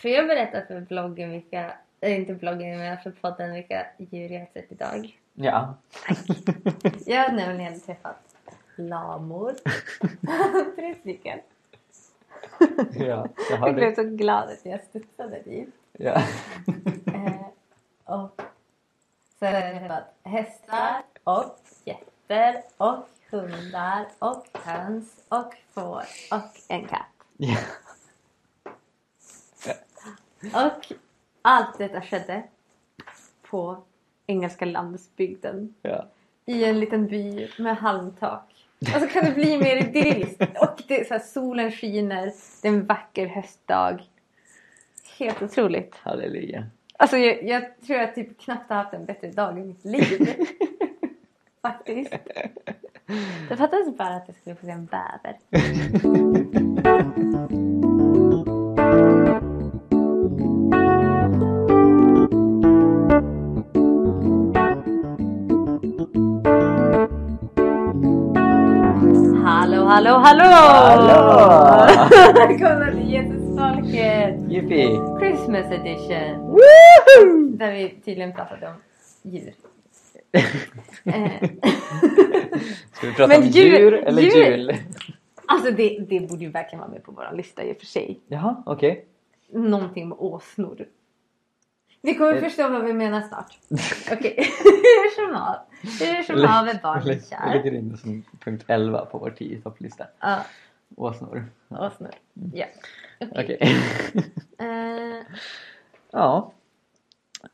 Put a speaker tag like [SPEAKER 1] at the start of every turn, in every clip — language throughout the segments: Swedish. [SPEAKER 1] Får jag berätta för vloggen vilka, eh, inte vloggen men för podden vilka djur jag har sett idag?
[SPEAKER 2] Ja.
[SPEAKER 1] Jag har nämligen träffat lamor. Tre stycken.
[SPEAKER 2] ja, jag har
[SPEAKER 1] Jag blev
[SPEAKER 2] det.
[SPEAKER 1] så glad att jag studsade dit.
[SPEAKER 2] Ja.
[SPEAKER 1] Eh, och så har jag träffat hästar och getter och hundar och höns och får och en katt.
[SPEAKER 2] ja.
[SPEAKER 1] Och allt detta skedde på engelska landsbygden.
[SPEAKER 2] ja.
[SPEAKER 1] I en liten by med halmtak. Alltså kan det bli mer idylliskt? Och det, är så här, solen skiner, det är en vacker höstdag. Helt otroligt.
[SPEAKER 2] Halleluja.
[SPEAKER 1] Alltså jag, jag tror jag typ knappt har haft en bättre dag i mitt liv. Faktiskt. Det fattades bara att jag skulle få se en bäver. Hallå, hallå, hallå!
[SPEAKER 2] Hallå!
[SPEAKER 1] Välkomna till Jesusfolket!
[SPEAKER 2] Jippi!
[SPEAKER 1] Christmas edition! Där vi tydligen pratade om djur. Eh,
[SPEAKER 2] Ska vi prata
[SPEAKER 1] Men
[SPEAKER 2] om
[SPEAKER 1] djur-
[SPEAKER 2] djur, eller
[SPEAKER 1] djur-
[SPEAKER 2] jul?
[SPEAKER 1] alltså det, det borde ju verkligen vara med på vår lista i och för sig.
[SPEAKER 2] Jaha, okej.
[SPEAKER 1] Någonting med åsnor. Ni kommer
[SPEAKER 2] Eh.
[SPEAKER 1] förstå vad vi menar snart. Okej, hur som av. Hur som
[SPEAKER 2] Lägg-
[SPEAKER 1] av är barnen
[SPEAKER 2] Lägg- Jag
[SPEAKER 1] kär.
[SPEAKER 2] lägger in det som punkt 11 på vår 10-topplista.
[SPEAKER 1] Ja,
[SPEAKER 2] Åsnor.
[SPEAKER 1] åsnor. Ja. Okej.
[SPEAKER 2] Okej.
[SPEAKER 1] Eh,
[SPEAKER 2] ja.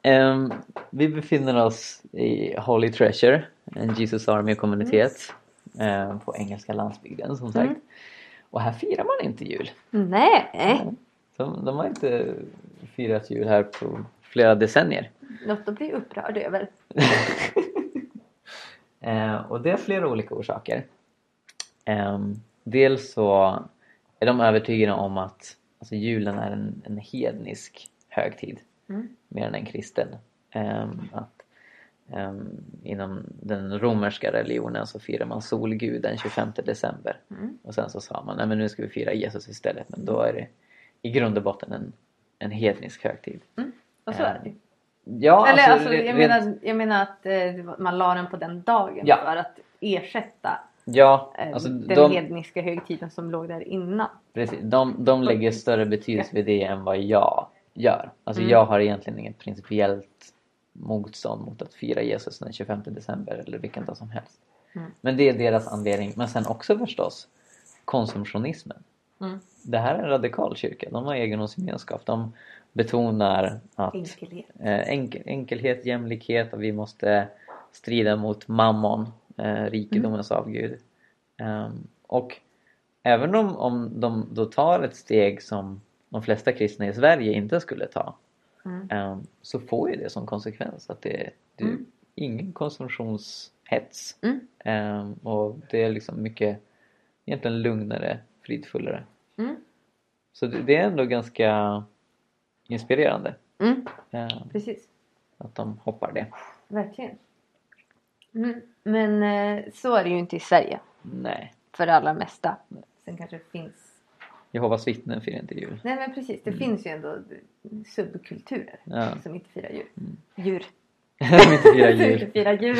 [SPEAKER 2] Ehm, vi befinner oss i Holy Treasure, en Jesus Army-kommunitet eh, på engelska landsbygden som sagt.
[SPEAKER 1] Mm.
[SPEAKER 2] Och här firar man inte jul.
[SPEAKER 1] nej,
[SPEAKER 2] De, de har inte firat jul här på flera decennier.
[SPEAKER 1] något att bli upprörd över.
[SPEAKER 2] Eh, och det är flera olika orsaker. Ehm, dels så är de övertygade om att alltså, julen är en, en hednisk högtid
[SPEAKER 1] Mm.
[SPEAKER 2] mer än en kristen. Ehm, att, ehm, inom den romerska religionen så firar man solguden 25 december
[SPEAKER 1] Mm.
[SPEAKER 2] och sen så sa man "Nej, men nu ska vi fira Jesus istället men då är det i grund och botten en, en hednisk högtid.
[SPEAKER 1] Och så är det ju.
[SPEAKER 2] Ja,
[SPEAKER 1] Eller alltså,
[SPEAKER 2] re-
[SPEAKER 1] jag,
[SPEAKER 2] rent-
[SPEAKER 1] menar, jag menar att eh, det var- man la den på den dagen
[SPEAKER 2] Ja.
[SPEAKER 1] för att ersätta
[SPEAKER 2] ja,
[SPEAKER 1] eh,
[SPEAKER 2] alltså,
[SPEAKER 1] den
[SPEAKER 2] de,
[SPEAKER 1] hedniska högtiden som låg där innan.
[SPEAKER 2] Precis. De, de lägger större betydelse vid det än vad jag gör. Alltså
[SPEAKER 1] Mm.
[SPEAKER 2] jag har egentligen inget principiellt motstånd mot att fira Jesus den 25 december eller vilken dag som helst.
[SPEAKER 1] Mm.
[SPEAKER 2] Men det är deras anledning. Men sen också förstås konsumtionismen.
[SPEAKER 1] Mm.
[SPEAKER 2] Det här är en radikal kyrka. De har egendomsgemenskap. De betonar att
[SPEAKER 1] Enkelhet.
[SPEAKER 2] eh, enkel, enkelhet, jämlikhet och vi måste strida mot mammon, eh, rikedomens avgud. Ehm, och även om, om de då tar ett steg som de flesta kristna i Sverige inte skulle ta
[SPEAKER 1] Mm.
[SPEAKER 2] ehm, så får ju det som konsekvens att det, det är
[SPEAKER 1] Mm.
[SPEAKER 2] ingen konsumtionshets
[SPEAKER 1] Mm.
[SPEAKER 2] Ehm, och det är liksom mycket egentligen lugnare, fridfullare.
[SPEAKER 1] Mm.
[SPEAKER 2] Så det, det är ändå ganska inspirerande.
[SPEAKER 1] Mm,
[SPEAKER 2] Ehm,
[SPEAKER 1] precis,
[SPEAKER 2] att de hoppar det.
[SPEAKER 1] verkligen. Mm. Men eh, så är det ju inte i Sverige
[SPEAKER 2] Nej.
[SPEAKER 1] för det allra mesta. Sen kanske det finns...
[SPEAKER 2] Jehovas vittnen firar inte jul.
[SPEAKER 1] Nej men precis, det finns ju ändå subkulturer
[SPEAKER 2] Mm. Ja.
[SPEAKER 1] som inte firar djur.
[SPEAKER 2] Mm.
[SPEAKER 1] Djur.
[SPEAKER 2] De inte firar
[SPEAKER 1] Som inte
[SPEAKER 2] jul.
[SPEAKER 1] firar djur.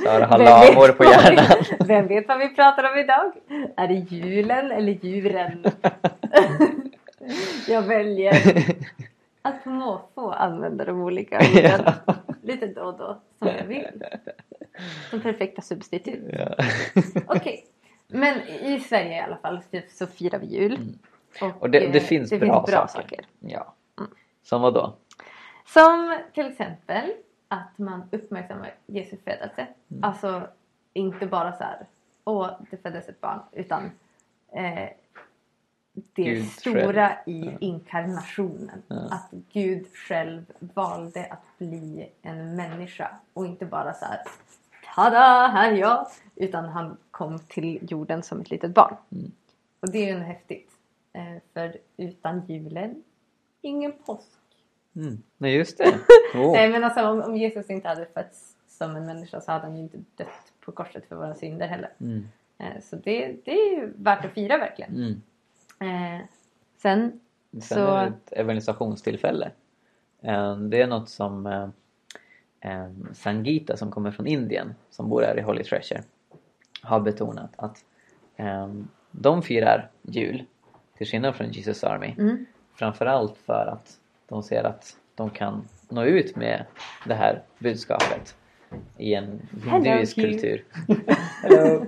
[SPEAKER 2] Sara har
[SPEAKER 1] Vem
[SPEAKER 2] lamor
[SPEAKER 1] vet
[SPEAKER 2] på
[SPEAKER 1] vad
[SPEAKER 2] hjärnan.
[SPEAKER 1] vi- Vem vet vad vi pratar om idag? Är det julen eller djuren? Jag väljer att på måfå använda de olika orden
[SPEAKER 2] ja.
[SPEAKER 1] lite då och då som jag vill. Som perfekta substitut.
[SPEAKER 2] Ja.
[SPEAKER 1] Okej. Men i Sverige i alla fall typ, så firar vi jul.
[SPEAKER 2] Mm. Och det,
[SPEAKER 1] eh,
[SPEAKER 2] det finns
[SPEAKER 1] det
[SPEAKER 2] bra,
[SPEAKER 1] finns bra
[SPEAKER 2] saker.
[SPEAKER 1] saker.
[SPEAKER 2] Ja.
[SPEAKER 1] Mm.
[SPEAKER 2] Som vad då?
[SPEAKER 1] Som till exempel att man uppmärksammar Jesu födelse.
[SPEAKER 2] Mm.
[SPEAKER 1] Alltså inte bara så här, åh det föddes ett barn. Utan eh, det
[SPEAKER 2] Gud
[SPEAKER 1] stora i
[SPEAKER 2] Ja.
[SPEAKER 1] inkarnationen.
[SPEAKER 2] Ja.
[SPEAKER 1] Att Gud själv valde att bli en människa. Och inte bara så här, tada här är jag. Utan han kom till jorden som ett litet barn.
[SPEAKER 2] Mm.
[SPEAKER 1] Och det är ju en häftigt. Eh, för utan julen, ingen påsk.
[SPEAKER 2] Mm. Nej just det. Oh.
[SPEAKER 1] Nej men alltså om, om Jesus inte hade fötts som en människa så hade han ju inte dött på korset för våra synder heller.
[SPEAKER 2] Mm.
[SPEAKER 1] Eh, Så det, det är ju värt att fira verkligen.
[SPEAKER 2] Mm.
[SPEAKER 1] Eh, sen
[SPEAKER 2] Sen
[SPEAKER 1] Så-
[SPEAKER 2] är det ett evangelisationstillfälle. Eh, Det är något som eh, eh, Sangita som kommer från Indien, som bor här i Holy Treasure, har betonat att eh, de firar jul, till skillnad från Jesus Army.
[SPEAKER 1] Mm.
[SPEAKER 2] Framförallt för att de ser att de kan nå ut med det här budskapet i en
[SPEAKER 1] Hello,
[SPEAKER 2] hinduisk
[SPEAKER 1] you.
[SPEAKER 2] kultur. Hello.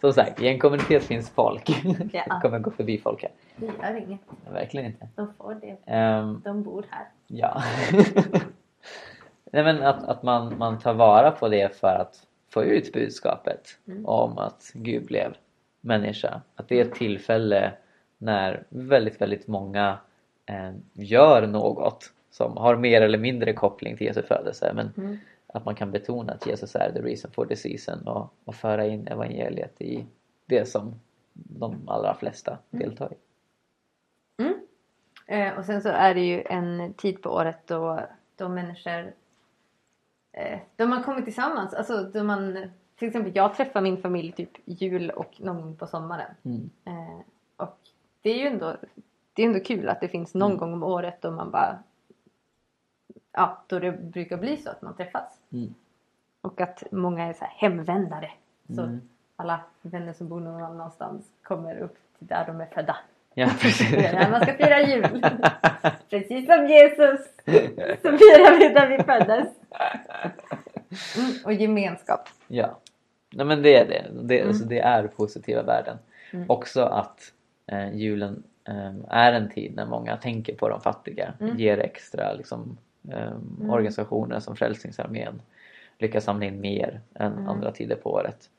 [SPEAKER 2] Som sagt, i en kommunitet finns folk.
[SPEAKER 3] Ja.
[SPEAKER 2] Jag kommer gå förbi folk här.
[SPEAKER 3] Vi gör inget.
[SPEAKER 2] Verkligen inte.
[SPEAKER 3] De får det.
[SPEAKER 2] Ehm,
[SPEAKER 3] De bor här.
[SPEAKER 2] ja. Nej men att, att man, man tar vara på det för att få ut budskapet
[SPEAKER 3] Mm.
[SPEAKER 2] om att Gud blev människa. Att det är ett tillfälle när väldigt, väldigt många eh, gör något som har mer eller mindre koppling till Jesu födelse. Men
[SPEAKER 3] Mm.
[SPEAKER 2] att man kan betona att Jesus är the reason for the season och, och föra in evangeliet i det som de allra flesta
[SPEAKER 3] Mm.
[SPEAKER 2] deltar i.
[SPEAKER 1] Eh, och sen så är det ju en tid på året då
[SPEAKER 3] Då människor... Eh, då man kommer tillsammans. Alltså då man...
[SPEAKER 1] till exempel jag träffar min familj typ jul och någon gång på sommaren.
[SPEAKER 2] Mm.
[SPEAKER 1] Eh, och det är ju ändå, det är ändå kul att det finns någon
[SPEAKER 2] Mm.
[SPEAKER 1] gång om året då man bara... Ja, då det brukar bli så att man träffas.
[SPEAKER 2] Mm.
[SPEAKER 1] Och att många är så här hemvändare. Så
[SPEAKER 2] Mm.
[SPEAKER 1] alla vänner som bor någon annanstans kommer upp till där de är födda.
[SPEAKER 2] Ja, precis.
[SPEAKER 1] Det är Där man ska fira jul. Precis som Jesus så firar vi där vi föddes. Mm, och gemenskap.
[SPEAKER 2] Ja. Nej men det är det. Det, alltså, det är positiva värden.
[SPEAKER 1] Mm.
[SPEAKER 2] Också att eh, julen eh, är en tid när många tänker på de fattiga.
[SPEAKER 1] Mm.
[SPEAKER 2] Ger extra liksom, eh, organisationer som Frälsningsarmén. Lyckas samla in mer än
[SPEAKER 1] Mm.
[SPEAKER 2] andra tider på året.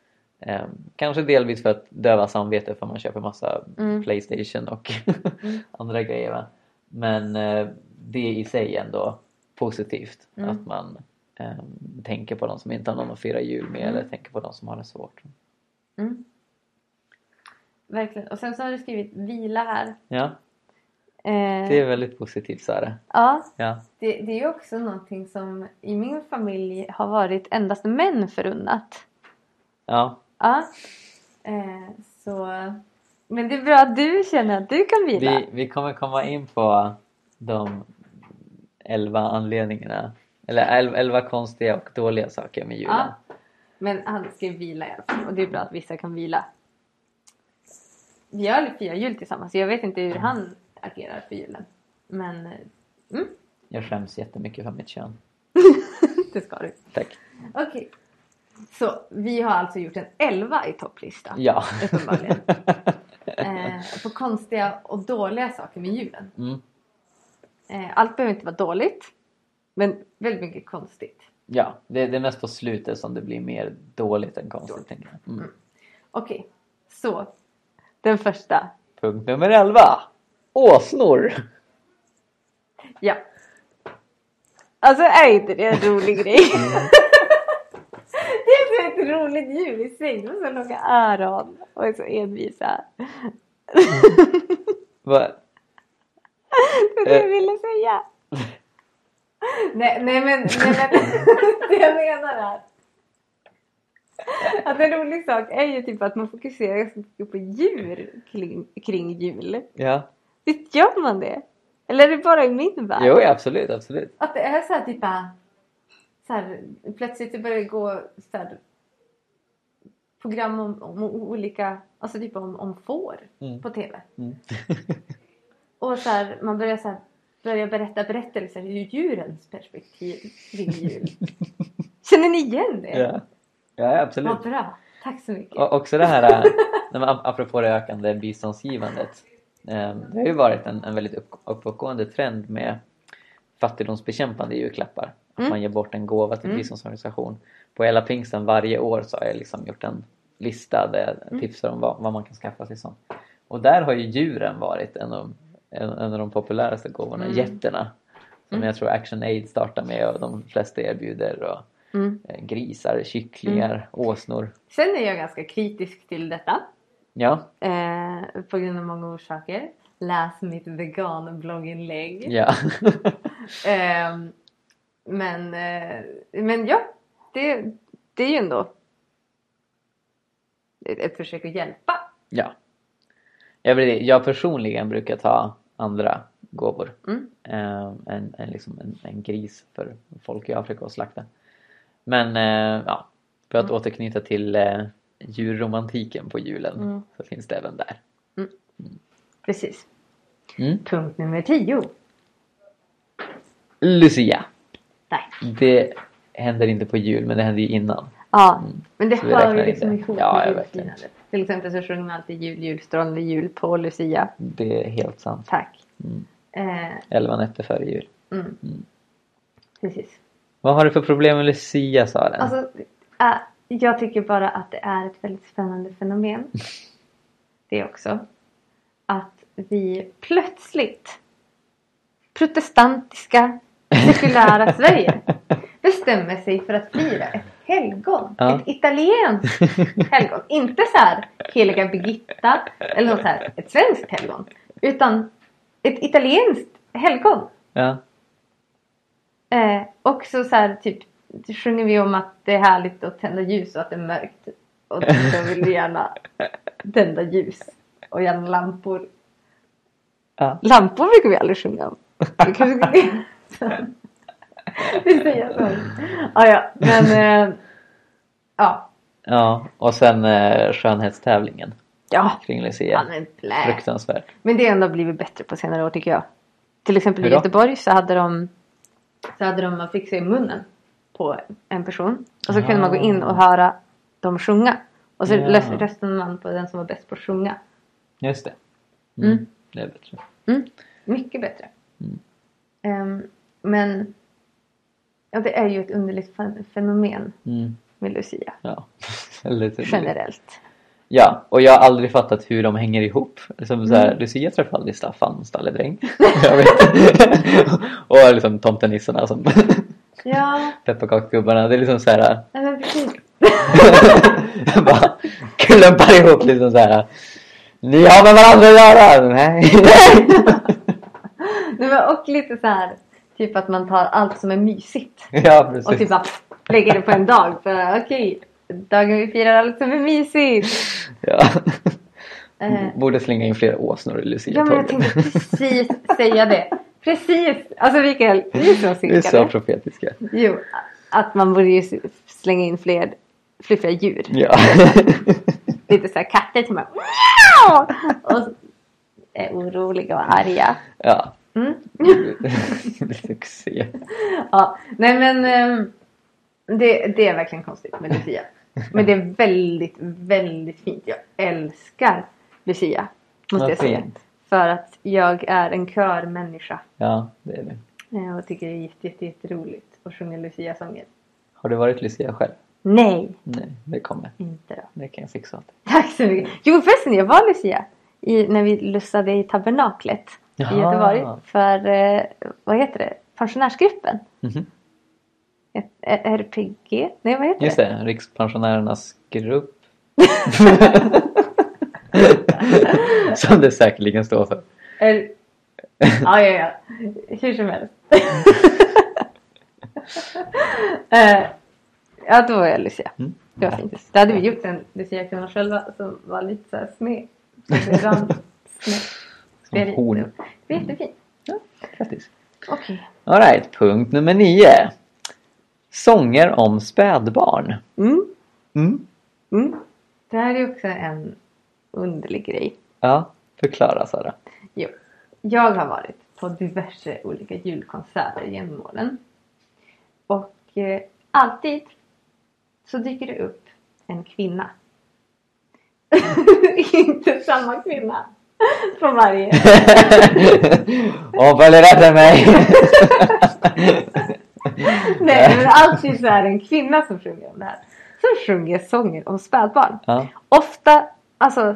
[SPEAKER 2] Eh, kanske delvis för att döva samvete för man köper massa
[SPEAKER 1] Mm.
[SPEAKER 2] Playstation och andra grejer. Va? Men eh, det i sig är ändå positivt.
[SPEAKER 1] Mm.
[SPEAKER 2] Att man eh, tänker på de som inte har någon att fira jul med eller
[SPEAKER 1] Mm.
[SPEAKER 2] tänker på de som har det svårt.
[SPEAKER 1] Verkligen. Och sen så har du skrivit vila här.
[SPEAKER 2] Ja,
[SPEAKER 1] Eh,
[SPEAKER 2] det är väldigt positivt Sara.
[SPEAKER 1] Ja,
[SPEAKER 2] Ja.
[SPEAKER 1] det, det är ju också någonting som i min familj har varit endast män förunnat.
[SPEAKER 2] Ja.
[SPEAKER 1] Ja. Eh, så... Men det är bra att du känner att du kan vila.
[SPEAKER 2] Vi, vi kommer komma in på de elva anledningarna. Eller el- elva konstiga och dåliga saker med julen.
[SPEAKER 1] Ja. Men han ska ju vila i alla fall och det är bra att vissa kan vila. Vi har aldrig firat jul tillsammans så jag vet inte hur han agerar för julen. Men eh,
[SPEAKER 2] Jag skäms jättemycket för mitt kön.
[SPEAKER 1] det ska du.
[SPEAKER 2] Tack.
[SPEAKER 1] Okej. Så vi har alltså gjort en 11 i topplista.
[SPEAKER 2] Ja.
[SPEAKER 1] Uppenbarligen. Eh, på konstiga och dåliga saker med julen.
[SPEAKER 2] Mm.
[SPEAKER 1] Eh, allt behöver inte vara dåligt. Men väldigt mycket konstigt.
[SPEAKER 2] Ja, det, det är mest på slutet som det blir mer dåligt än konstigt. tänker jag. Mm.
[SPEAKER 1] Okej, så. Den första.
[SPEAKER 2] Punkt nummer 11. Åsnor!
[SPEAKER 1] Ja. Alltså är inte det en rolig grej? det är så ett roligt djur i sig. De har så långa öron och är så envisa.
[SPEAKER 2] Va?
[SPEAKER 1] Det var det jag
[SPEAKER 2] Eh.
[SPEAKER 1] ville säga. nej, nej men, nej, men det jag menar är att en rolig sak är ju typ att man fokuserar ganska mycket på djur kring, kring jul.
[SPEAKER 2] Ja.
[SPEAKER 1] Visst gör man det? Eller är det bara i min värld?
[SPEAKER 2] Jo, absolut, absolut.
[SPEAKER 3] Att det är så här typ
[SPEAKER 1] eh,
[SPEAKER 3] bara... Så här, plötsligt det börjar gå så här,
[SPEAKER 1] Program om, om olika, alltså typ om, om får
[SPEAKER 2] Mm.
[SPEAKER 1] på tv.
[SPEAKER 2] Mm.
[SPEAKER 1] Och så här, man börjar så här, börjar berätta berättelser ur djurens perspektiv kring jul. Känner ni igen det?
[SPEAKER 2] Ja. ja, absolut.
[SPEAKER 1] Vad bra. Tack så mycket.
[SPEAKER 2] Och också det här, eh, nej, men ap- apropå det ökande biståndsgivandet. Eh, Det har ju varit en, en väldigt upp- uppåtgående trend med fattigdomsbekämpande julklappar. Att
[SPEAKER 1] Mm.
[SPEAKER 2] man ger bort en gåva till en
[SPEAKER 1] Mm.
[SPEAKER 2] biståndsorganisation. På hela pingsten varje år så har jag liksom gjort en lista där jag
[SPEAKER 1] Mm.
[SPEAKER 2] tipsar om vad, vad man kan skaffa sig sånt. Och där har ju djuren varit en av, en, en av de populäraste gåvorna,
[SPEAKER 1] Mm.
[SPEAKER 2] getterna. Som jag tror Action Aid startar med och de flesta erbjuder. Och,
[SPEAKER 1] Mm.
[SPEAKER 2] eh, grisar, kycklingar, åsnor.
[SPEAKER 1] Sen är jag ganska kritisk till detta.
[SPEAKER 2] Ja,
[SPEAKER 1] Eh, på grund av många orsaker. Läs mitt veganblogginlägg.
[SPEAKER 2] ja.
[SPEAKER 1] Ehm, men, eh, men ja, det, det är ju ändå ett, ett försök att hjälpa.
[SPEAKER 2] Ja. Jag, blir- jag personligen brukar ta andra gåvor
[SPEAKER 1] Mm.
[SPEAKER 2] eh, än, än liksom en, en gris för folk i Afrika att slakta. Men eh, ja, för
[SPEAKER 1] Mm.
[SPEAKER 2] att återknyta till eh, djurromantiken på julen
[SPEAKER 1] Mm.
[SPEAKER 2] så finns det även där.
[SPEAKER 1] Precis.
[SPEAKER 2] Mm.
[SPEAKER 1] Punkt nummer tio.
[SPEAKER 2] Lucia!
[SPEAKER 1] Nej.
[SPEAKER 2] Det händer inte på jul men det händer ju innan.
[SPEAKER 1] Ja,
[SPEAKER 2] Mm.
[SPEAKER 1] men det
[SPEAKER 2] Så vi
[SPEAKER 1] hör
[SPEAKER 2] räknar
[SPEAKER 1] ju
[SPEAKER 2] in
[SPEAKER 1] liksom
[SPEAKER 2] det.
[SPEAKER 1] ihop
[SPEAKER 2] Ja,
[SPEAKER 1] med
[SPEAKER 2] ja,
[SPEAKER 1] julfirandet. Till exempel så sjunger man alltid jul, julstrålande jul på Lucia.
[SPEAKER 2] Det är helt sant.
[SPEAKER 1] Tack.
[SPEAKER 2] Mm.
[SPEAKER 1] Eh,
[SPEAKER 2] Elva nätter före jul.
[SPEAKER 1] mm.
[SPEAKER 2] Mm.
[SPEAKER 1] Precis.
[SPEAKER 2] Vad har du för problem med Lucia sa den?
[SPEAKER 1] Alltså, äh, jag tycker bara att det är ett väldigt spännande fenomen. Det också. Att vi plötsligt, protestantiska, sekulära Sverige bestämmer sig för att fira ett helgon.
[SPEAKER 2] Ja.
[SPEAKER 1] Ett italienskt helgon. Inte så här heliga Birgitta eller något så här, ett svenskt helgon. Utan ett italienskt helgon.
[SPEAKER 2] ja.
[SPEAKER 1] Eh, och så, så här, typ sjunger vi om att det är härligt att tända ljus och att det är mörkt. Och då vill vi gärna tända ljus och gärna lampor.
[SPEAKER 2] Ja.
[SPEAKER 1] Lampor brukar vi aldrig sjunga om. Vi kanske skulle göra så. Vi säger så. Ja, ja, men eh, ja.
[SPEAKER 2] ja. Och sen eh, skönhetstävlingen
[SPEAKER 1] Ja,
[SPEAKER 2] kring
[SPEAKER 1] ja
[SPEAKER 2] Lucia.
[SPEAKER 1] men blä.
[SPEAKER 2] Fruktansvärt.
[SPEAKER 1] Men det har ändå blivit bättre på senare år tycker jag. Till exempel i
[SPEAKER 2] Hur då?
[SPEAKER 1] Göteborg så hade de så hade de att fixa i munnen på en person. Och så kunde man gå in och höra dem sjunga. Och så
[SPEAKER 2] Ah. Ja.
[SPEAKER 1] lös- röstade man på den som var bäst på att sjunga.
[SPEAKER 2] Just det. Mm.
[SPEAKER 1] Mm.
[SPEAKER 2] Det är bättre.
[SPEAKER 1] Mycket bättre.
[SPEAKER 2] Mm.
[SPEAKER 1] Ehm, men ja, det är ju ett underligt fen- fenomen
[SPEAKER 2] Mm.
[SPEAKER 1] med Lucia.
[SPEAKER 2] Ja. Lite roligt.
[SPEAKER 1] Generellt.
[SPEAKER 2] Ja, och jag har aldrig fattat hur de hänger ihop. Som så här,
[SPEAKER 1] Mm.
[SPEAKER 2] Lucia träffade aldrig Staffan, stalledräng. jag vet. och liksom tomtenissarna som
[SPEAKER 1] Ja,
[SPEAKER 2] pepparkaksgubbarna. Det är liksom så här.
[SPEAKER 1] nej, men precis.
[SPEAKER 2] bara klumpar ihop liksom så här. Ni har med varandra att göra! Nej.
[SPEAKER 1] Nej, men, och lite så här. Typ att man tar allt som är mysigt.
[SPEAKER 2] ja,
[SPEAKER 1] Och
[SPEAKER 2] precis.
[SPEAKER 1] typ bara lägger det på en dag. För okej, dagen vi firar allt som är alltså mysigt.
[SPEAKER 2] Ja.
[SPEAKER 1] Eh,
[SPEAKER 2] Borde slänga in fler åsnor i
[SPEAKER 1] ja men jag
[SPEAKER 2] Lucia-tåget.
[SPEAKER 1] tänkte precis säga det. Precis! Alltså Mikael, vi är så
[SPEAKER 2] Vi är så
[SPEAKER 1] synkade.
[SPEAKER 2] profetiska.
[SPEAKER 1] Jo, att man borde ju slänga in fler fluffiga djur.
[SPEAKER 2] Ja.
[SPEAKER 1] Lite såhär katter som bara "Miau!" och är oroliga och arga.
[SPEAKER 2] ja.
[SPEAKER 1] Mm.
[SPEAKER 2] Det blir succé.
[SPEAKER 1] Ja, nej men ehm, det, det är verkligen konstigt med Lucia. Men det är väldigt, väldigt fint. Jag älskar Lucia. Måste
[SPEAKER 2] Vad
[SPEAKER 1] jag säga.
[SPEAKER 2] fint.
[SPEAKER 1] För att jag är en körmänniska.
[SPEAKER 2] Ja, det är det.
[SPEAKER 1] eh, Och tycker det är jätte, jätte, jätteroligt att sjunga Lucia-sånger.
[SPEAKER 2] Har du varit Lucia själv?
[SPEAKER 1] Nej,
[SPEAKER 2] Nej, det kommer.
[SPEAKER 1] inte då.
[SPEAKER 2] Det kan jag fixa åt dig.
[SPEAKER 1] Tack så mycket. Jo förresten, jag var Lucia. I, när vi lussade i tabernaklet i
[SPEAKER 2] Jaha.
[SPEAKER 1] Göteborg. För, eh, vad heter det? Pensionärsgruppen.
[SPEAKER 2] Mhm.
[SPEAKER 1] Ett- eh, ett RPG? Nej, vad heter
[SPEAKER 2] Just
[SPEAKER 1] det?
[SPEAKER 2] det, Rikspensionärernas grupp. Som det säkerligen står för.
[SPEAKER 1] Eller, ja, ja, ja. Hur som helst. Eh, ja, då var jag Lucia.
[SPEAKER 2] Mm.
[SPEAKER 1] Det var fint. Då hade vi gjort en Lucia-kvinna själva som var lite så här sned. Så det rann snett. Det
[SPEAKER 2] Som
[SPEAKER 1] är-
[SPEAKER 2] horn.
[SPEAKER 1] Det är jättefint.
[SPEAKER 2] Grattis.
[SPEAKER 1] Okej.
[SPEAKER 2] Alright, punkt nummer nio. Sånger om spädbarn.
[SPEAKER 1] Mm,
[SPEAKER 2] Mm.
[SPEAKER 1] mm. Det här är också en underlig grej.
[SPEAKER 2] Ja, förklara Sara.
[SPEAKER 1] Jo. Jag har varit på diverse olika julkonserter genom åren. Och eh, alltid så dyker det upp en kvinna. Inte samma kvinna på varje.
[SPEAKER 2] Hon följer efter mig!
[SPEAKER 1] Nej, men alltid så är det en kvinna som sjunger om det här. Som sjunger sånger om spädbarn.
[SPEAKER 2] Ja.
[SPEAKER 1] Ofta, alltså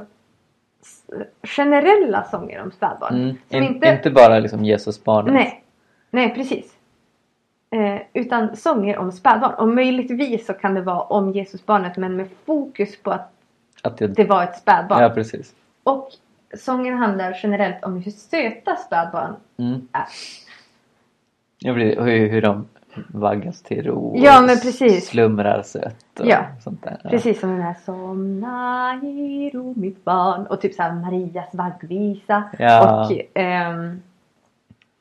[SPEAKER 1] s- generella sånger om spädbarn.
[SPEAKER 2] Mm.
[SPEAKER 1] Som
[SPEAKER 2] In, inte... bara liksom Jesusbarnet.
[SPEAKER 1] Nej, nej precis. Eh, utan sånger om spädbarn. Och möjligtvis så kan det vara om Jesusbarnet men med fokus på att
[SPEAKER 2] Att det...
[SPEAKER 1] det var ett spädbarn.
[SPEAKER 2] Ja, precis.
[SPEAKER 1] Och sången handlar generellt om hur söta spädbarn
[SPEAKER 2] Mm.
[SPEAKER 1] är.
[SPEAKER 2] Jag blir, hur, hur de vaggas till ro och
[SPEAKER 1] Ja, men precis.
[SPEAKER 2] slumrar sött och
[SPEAKER 1] Ja,
[SPEAKER 2] sånt där. Ja.
[SPEAKER 1] Precis som den här Somna i ro mitt barn och typ så här Marias vaggvisa
[SPEAKER 2] Ja.
[SPEAKER 1] och ehm,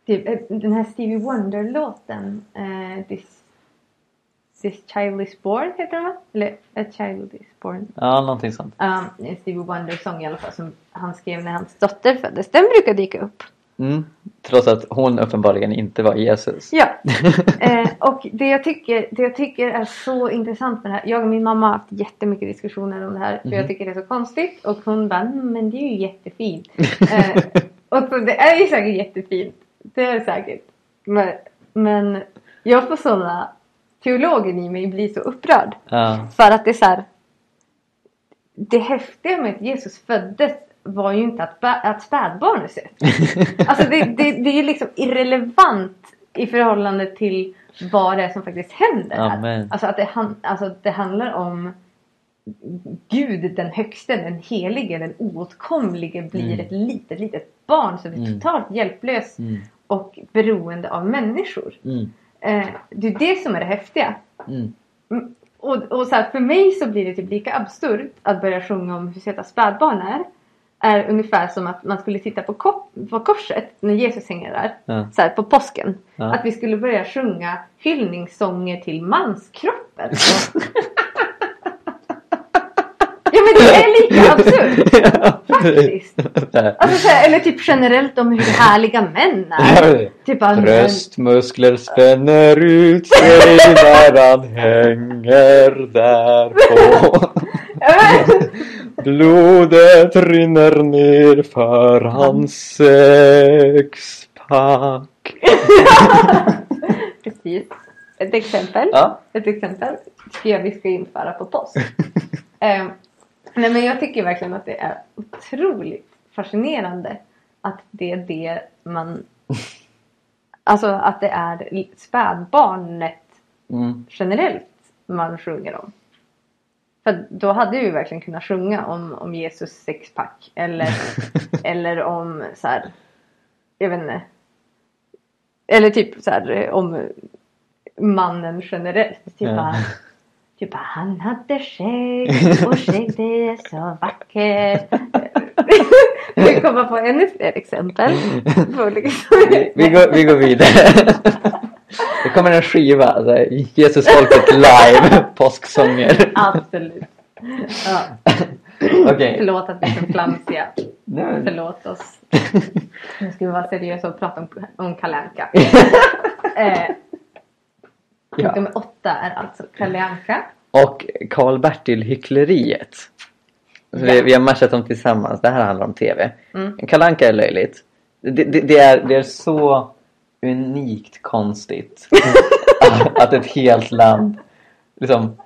[SPEAKER 1] typ, eh, den här Stevie Wonder-låten eh, this, this Child Is Born heter den va? Eller A Child Is Born.
[SPEAKER 2] Ja, någonting sånt.
[SPEAKER 1] Um, en Stevie Wonder-sång i alla fall som han skrev när hans dotter föddes. Den brukar dyka upp.
[SPEAKER 2] Mm. Trots att hon uppenbarligen inte var Jesus.
[SPEAKER 1] Ja, eh, och det jag, tycker, det jag tycker är så intressant med det här. Jag och min mamma har haft jättemycket diskussioner om det här. För
[SPEAKER 2] Mhm.
[SPEAKER 1] jag tycker det är så konstigt. Och hon bara, "Mm, men det är ju jättefint. Eh, och så, det är ju säkert jättefint. Det är det säkert. Men, men jag får sådana, teologen i mig blir så upprörd.
[SPEAKER 2] ja.
[SPEAKER 1] För att det är så här. Det häftiga med att Jesus föddes var ju inte att, ba- att spädbarnet sett. Alltså det, det, det är ju liksom irrelevant i förhållande till vad det är som faktiskt händer. här.
[SPEAKER 2] Amen.
[SPEAKER 1] Alltså att det, han, alltså att det handlar om Gud den högste, den helige, den oåtkomlige blir
[SPEAKER 2] Mm.
[SPEAKER 1] ett litet, litet barn som är
[SPEAKER 2] Mm.
[SPEAKER 1] totalt hjälplös
[SPEAKER 2] Mm.
[SPEAKER 1] och beroende av människor.
[SPEAKER 2] Mm.
[SPEAKER 1] Eh, det är det som är det häftiga.
[SPEAKER 2] Mm.
[SPEAKER 1] Mm, Och, och så här, för mig så blir det typ lika absurt att börja sjunga om hur söta spädbarn är. Är ungefär som att man skulle titta på, ko- på korset när Jesus hänger där.
[SPEAKER 2] Ja.
[SPEAKER 1] Så här, på påsken.
[SPEAKER 2] Ja.
[SPEAKER 1] Att vi skulle börja sjunga hyllningssånger till manskroppen. ja men det är lika absurt.
[SPEAKER 2] Ja,
[SPEAKER 1] Faktiskt.
[SPEAKER 2] Så här.
[SPEAKER 1] Alltså, så här, eller typ generellt om hur härliga män är. Typ att-
[SPEAKER 2] Bröstmuskler spänner ut sig när han hänger där på. Blodet rinner ner för hans sexpack.
[SPEAKER 1] Precis. Ett exempel.
[SPEAKER 2] Ja.
[SPEAKER 1] Ett exempel tycker jag vi ska införa på post. eh, nej men jag tycker verkligen att det är otroligt fascinerande att det är det man... Alltså att det är spädbarnet
[SPEAKER 2] Mm.
[SPEAKER 1] generellt man sjunger om. För då hade vi verkligen kunnat sjunga om, om Jesus sexpack eller, eller om så här, jag vet inte. Eller typ så här eh, om mannen generellt. Typ,
[SPEAKER 2] Ja.
[SPEAKER 1] bara, typ bara, han hade skägg och skägg det är så vackert. Vi kommer på ännu fler exempel. På liksom-
[SPEAKER 2] Vi, vi, går, vi går vidare. Det kommer en skiva. så här, Jesusfolket live. Påsksånger.
[SPEAKER 1] Absolut. Ja,
[SPEAKER 2] Okej.
[SPEAKER 1] förlåt att vi är så flamsiga.
[SPEAKER 2] Nej, men-
[SPEAKER 1] Förlåt oss. Nu ska vi vara seriösa och prata om, om Kalle Anka. eh,
[SPEAKER 2] Ja.
[SPEAKER 1] Nummer åtta är alltså Kalle Anka.
[SPEAKER 2] Och Karl-Bertil Hyckleriet. Så vi,
[SPEAKER 1] Ja.
[SPEAKER 2] vi har matchat dem tillsammans. Det här handlar om TV.
[SPEAKER 1] Mm.
[SPEAKER 2] Kalle Anka är löjligt. Det, det, det, är, det är så unikt konstigt att, att ett helt land... Liksom,